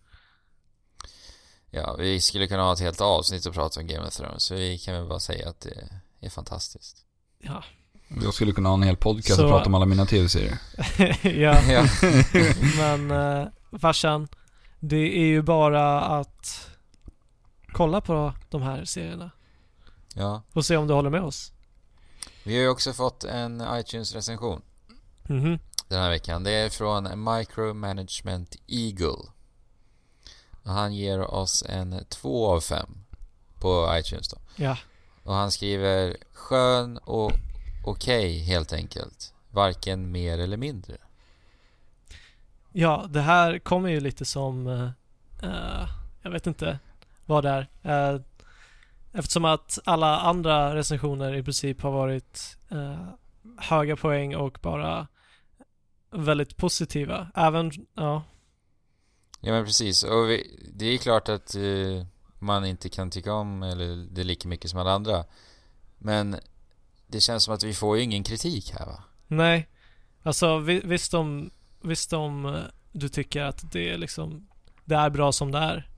Speaker 3: Ja, vi skulle kunna ha ett helt avsnitt och prata om Game of Thrones. Så vi kan väl bara säga att det är fantastiskt.
Speaker 2: Ja.
Speaker 1: Jag skulle kunna ha en hel podcast
Speaker 2: Så-
Speaker 1: och prata om alla mina tv-serier.
Speaker 2: ja,
Speaker 3: ja.
Speaker 2: men eh, farsan, det är ju bara att kolla på de här serierna
Speaker 3: ja.
Speaker 2: och se om du håller med oss.
Speaker 3: Vi har ju också fått en iTunes-recension
Speaker 2: Mhm.
Speaker 3: den här veckan. Det är från Micromanagement Eagle. Och han ger oss en 2 av 5 på iTunes då.
Speaker 2: Ja,
Speaker 3: Och han skriver skön och okej helt enkelt. Varken mer eller mindre.
Speaker 2: ja, det här kommer ju lite som, eh, eh, jag vet inte vad det är. Eh, eftersom att alla andra recensioner i princip har varit eh, höga poäng och bara väldigt positiva. Även, ja,
Speaker 3: Ja men precis. Och vi, det är klart att eh, man inte kan tycka om eller det lika mycket som alla andra. Men det känns som att vi får ju ingen kritik här va?
Speaker 2: Nej. Alltså vi, visst de visst om eh, du tycker att det är liksom, det är bra som det är.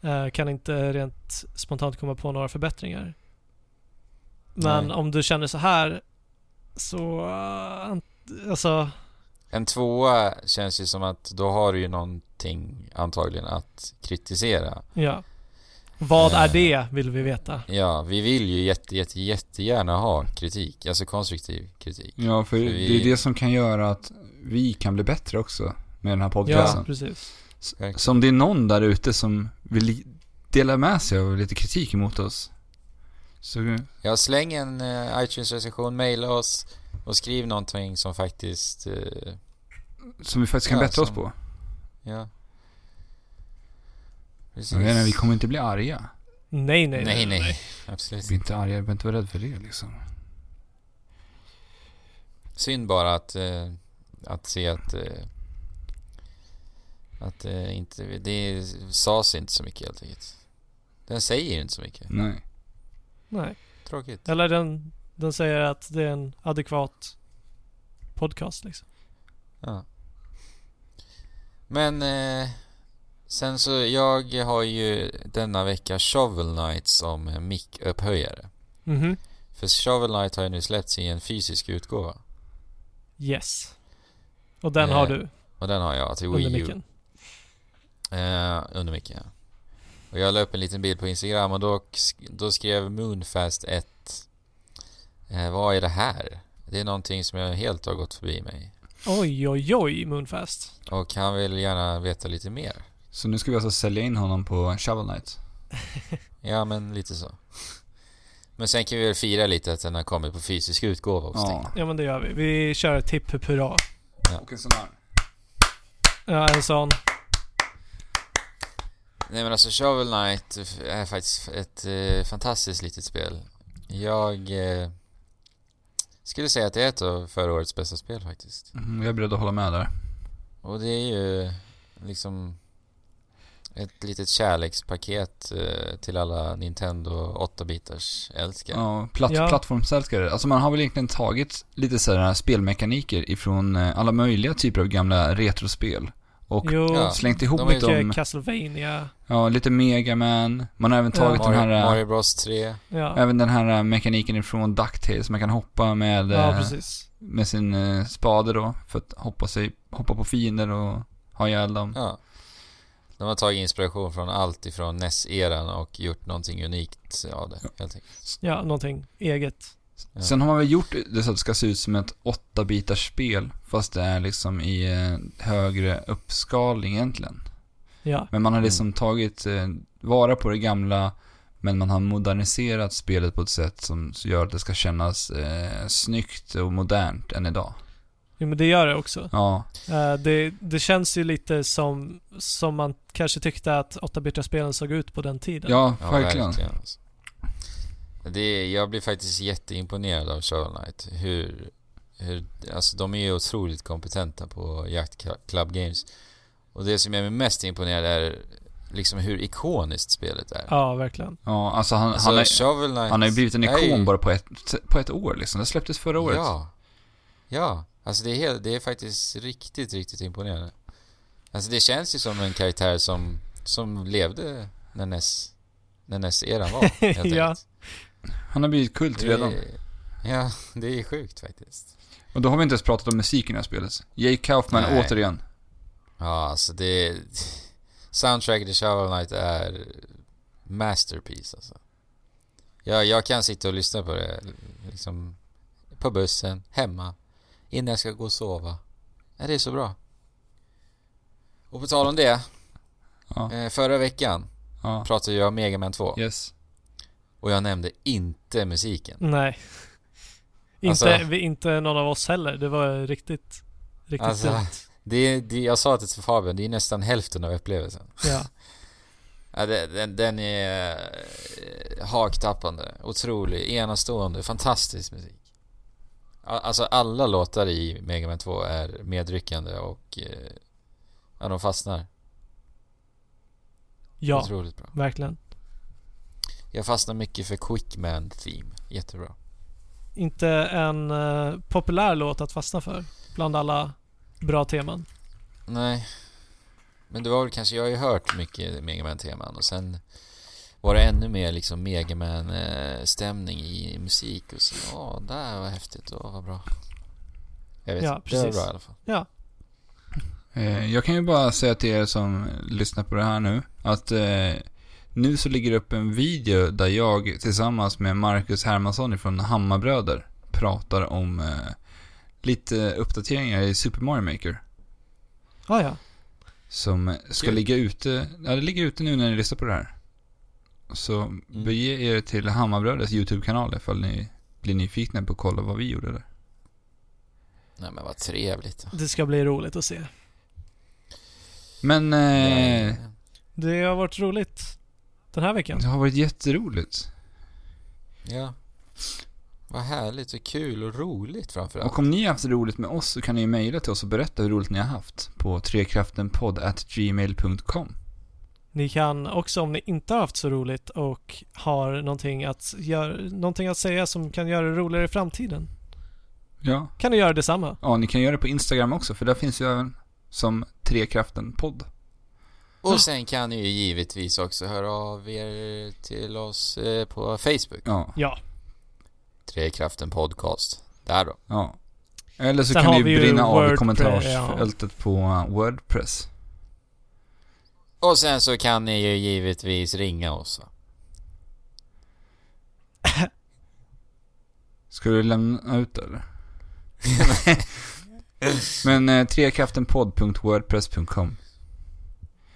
Speaker 2: Eh, Kan inte rent spontant komma på några förbättringar. Men
Speaker 3: Nej.
Speaker 2: om du känner så här så, eh, ant- alltså,
Speaker 3: En tvåa känns ju som att då har du ju någonting antagligen att kritisera.
Speaker 2: ja. Vad är
Speaker 3: Eh.
Speaker 2: det, vill vi veta.
Speaker 3: Ja, vi vill ju jätte, jätte, jättegärna ha kritik. Alltså konstruktiv kritik.
Speaker 1: Ja, för
Speaker 3: vi-
Speaker 1: det är det som kan göra att vi kan bli bättre också med den här
Speaker 2: Ja,
Speaker 1: podcasten.
Speaker 2: precis.
Speaker 3: Verkligen.
Speaker 1: Så om det är någon där ute som vill li- dela med sig av lite kritik emot oss. Så
Speaker 3: Ja, släng en eh, iTunes-recension, mejla oss och skriv någonting som faktiskt... eh,
Speaker 1: Som vi faktiskt kan
Speaker 3: Ja,
Speaker 1: bättra oss
Speaker 3: som-
Speaker 1: på.
Speaker 3: ja. Precis.
Speaker 1: Jag vet inte, vi kommer inte bli arga.
Speaker 2: Nej, nej,
Speaker 3: Nej, nej. Absolut.
Speaker 1: Vi blir inte arga, vi behöver inte vara rädda för det liksom.
Speaker 3: Synd bara att, eh, att se att... Eh, att eh, inte, det sades inte så mycket helt enkelt. Den säger inte så mycket.
Speaker 1: Nej.
Speaker 2: nej.
Speaker 3: Tråkigt.
Speaker 2: Eller den, den säger att det är en adekvat podcast liksom.
Speaker 3: Ja. Men eh, sen så, jag har ju denna vecka Shovel Knight som mickupphöjare. Mm-hmm.
Speaker 2: Mhm.
Speaker 3: För Shovel Knight har ju nu släppts i en fysisk utgåva.
Speaker 2: Yes. Och den har
Speaker 3: Eh,
Speaker 2: du
Speaker 3: Och den har jag till
Speaker 2: under
Speaker 3: Wii U.
Speaker 2: micken.
Speaker 3: Eh, under micken, ja. Och jag la upp en liten bild på Instagram och då, sk- då skrev Moonfast 1 eh, Vad är det här? Det är någonting som jag helt har gått förbi mig.
Speaker 2: Oj, oj, oj, Moonfast.
Speaker 3: Och han vill gärna veta lite mer.
Speaker 1: Så nu ska vi alltså sälja in honom på Shovel Knight.
Speaker 3: Ja, men lite så. Men sen kan vi väl fira lite att den har kommit på fysisk utgåva också. tänkte
Speaker 1: Ja.
Speaker 2: Ja men det gör vi. Vi kör ett tipp hupp, hurra.
Speaker 1: Och en sån här.
Speaker 2: Ja, en sån.
Speaker 3: jag. Nej men alltså Shovel Knight är faktiskt ett eh, fantastiskt litet spel. Jag eh, skulle säga att det är ett av förra årets bästa spel faktiskt.
Speaker 1: Mm, jag är beredd att hålla med där.
Speaker 3: Och det är ju liksom ett litet kärlekspaket eh, till alla Nintendo 8-bitars älskare.
Speaker 1: Ja, platt,
Speaker 2: Ja.
Speaker 1: plattformsälskare. Alltså man har väl egentligen tagit lite sådana här spelmekaniker ifrån eh, alla möjliga typer av gamla retrospel. Och
Speaker 2: Jo,
Speaker 3: Ja.
Speaker 1: slängt ihop
Speaker 3: De är-
Speaker 1: dem.
Speaker 2: mycket Castlevania.
Speaker 1: Ja, lite Mega Man. Man har även
Speaker 2: Ja.
Speaker 1: tagit
Speaker 3: Mario,
Speaker 1: den här... eh,
Speaker 3: Mario Bros 3.
Speaker 2: Ja,
Speaker 1: Även den här eh, mekaniken ifrån DuckTales, man kan hoppa med,
Speaker 2: ja
Speaker 1: eh,
Speaker 2: precis.
Speaker 1: med sin eh, spade då för att hoppa, sig, hoppa på fiender och ha ihjäl dem.
Speaker 3: Ja. De har tagit inspiration från allt ifrån NES-eran och gjort någonting unikt av det. Helt enkelt.
Speaker 2: Ja, någonting eget.
Speaker 3: Ja.
Speaker 1: Sen har man väl gjort det så att det ska se ut som ett 8-bitars spel fast det är liksom i eh, högre uppskalning egentligen.
Speaker 2: Ja,
Speaker 1: Men man
Speaker 3: Mm.
Speaker 1: har liksom tagit eh, vara på det gamla men man har moderniserat spelet på ett sätt som gör att det ska kännas eh, snyggt och modernt än idag.
Speaker 2: jo, men det gör det också.
Speaker 1: Ja,
Speaker 2: Eh, det, det känns ju lite som, som man kanske tyckte att 8-bitarspelen såg ut på den tiden.
Speaker 1: ja,
Speaker 3: Ja,
Speaker 1: verkligen.
Speaker 3: alltså. Det är, jag blir faktiskt jätteimponerad av Shovel Knight. Hur, hur, alltså de är ju otroligt kompetenta på Yacht Club Games. Och det som jag är mest imponerad är liksom hur ikoniskt spelet är.
Speaker 2: ja verkligen.
Speaker 1: Ja, alltså han,
Speaker 3: Alltså,
Speaker 1: han är...
Speaker 3: Shovel Knight
Speaker 1: Han har ju blivit en
Speaker 3: är ju-
Speaker 1: ikon bara på ett, på ett år liksom. Det släpptes förra året.
Speaker 3: Ja. Ja. Alltså det är, helt, det är faktiskt riktigt, riktigt imponerande. Alltså det känns ju som en karaktär som, som levde när NES, när NES-eran var. Helt
Speaker 2: Ja.
Speaker 3: enkelt.
Speaker 1: Han har blivit kult
Speaker 3: Det
Speaker 1: redan.
Speaker 3: är- Ja, det är sjukt faktiskt.
Speaker 1: Och då har vi inte ens pratat om musiken i det här spelet. Jake Kaufman
Speaker 3: Nej.
Speaker 1: återigen.
Speaker 3: Ja, alltså det... Soundtracket i Shovel Knight är masterpiece alltså. Ja, jag kan sitta och lyssna på det liksom på bussen, hemma, innan jag ska gå och sova. Ja, det är så bra. Och på tal om det,
Speaker 1: Ja,
Speaker 3: eh, förra veckan
Speaker 1: ja.
Speaker 3: pratade jag om Mega Man 2
Speaker 1: Yes.
Speaker 3: och jag nämnde inte musiken.
Speaker 2: Nej.
Speaker 3: Alltså-
Speaker 2: Inte, vi, inte någon av oss heller. Det var riktigt, riktigt
Speaker 3: Alltså-
Speaker 2: dumt.
Speaker 3: Det, det, jag sa det till Fabian, det är nästan hälften av upplevelsen.
Speaker 2: Ja.
Speaker 3: Ja, det- den, den är eh, haktappande, otrolig, enastående, fantastisk musik. A- Alltså alla låtar i Mega Man 2 är medryckande och eh, ja, de fastnar.
Speaker 2: Ja,
Speaker 3: Otroligt bra.
Speaker 2: verkligen.
Speaker 3: Jag fastnar mycket för Quickman Theme. Jättebra.
Speaker 2: Inte en eh, populär låt att fastna för bland alla bra teman.
Speaker 3: Nej. Men det var väl kanske, jag har ju hört mycket Mega man teman och sen var det ännu mer liksom Mega man eh, stämning i musik och så. Åh, där var häftigt och vad bra. Jag vet,
Speaker 2: Ja,
Speaker 3: inte. det var
Speaker 2: precis.
Speaker 3: bra i alla fall.
Speaker 1: Eh, Jag kan ju bara säga till er som lyssnar på det här nu att eh, nu så ligger det upp en video där jag tillsammans med Marcus Hermansson från Hammarbröder pratar om eh, lite uppdateringar i Super Mario Maker.
Speaker 2: Ah, ja,
Speaker 1: Som ska
Speaker 3: Kul.
Speaker 1: ligga ute, ja det ligger ute nu när ni lyssnar på det här.
Speaker 3: Mm.
Speaker 1: Så bege er till Hammarbröders YouTube-kanal ifall ni blir nyfikna på att kolla vad vi gjorde där.
Speaker 3: Nej men vad trevligt.
Speaker 2: det ska bli roligt att se.
Speaker 1: Men eh,
Speaker 3: Nej.
Speaker 2: Det har varit roligt den här veckan.
Speaker 1: det har varit jätteroligt.
Speaker 3: Ja. Vad härligt och kul och roligt framförallt.
Speaker 1: Och om ni har haft roligt med oss så kan ni ju mejla till oss och berätta hur roligt ni har haft på trekraftenpodd.gmail.com.
Speaker 2: Ni kan också om ni inte har haft så roligt och har någonting att, gör, någonting att säga som kan göra det roligare i framtiden
Speaker 1: Ja.
Speaker 2: kan ni göra detsamma.
Speaker 1: ja, ni kan göra det på Instagram också för där finns ju även som Trekraftenpodd.
Speaker 3: Och sen kan ni ju givetvis också höra av er till oss eh, på Facebook.
Speaker 1: Ja,
Speaker 2: Ja,
Speaker 3: Trekraften Podcast. Där då.
Speaker 1: ja. Eller så
Speaker 2: Sen
Speaker 1: kan
Speaker 2: har
Speaker 1: ni
Speaker 2: vi
Speaker 1: ju
Speaker 2: ju
Speaker 1: brinna av i
Speaker 2: Wordpress,
Speaker 1: kommentarsfältet på uh, Wordpress.
Speaker 3: Och sen så kan ni ju givetvis ringa oss. va?
Speaker 1: Ska du lämna ut det eller? Men eh, trekraftenpodd.wordpress.com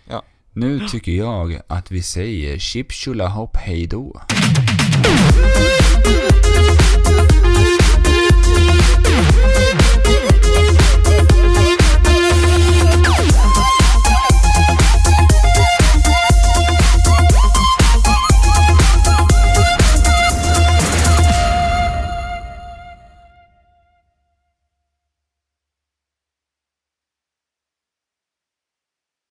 Speaker 3: Ja.
Speaker 1: Nu tycker jag att vi säger chip tjolahopp hej då.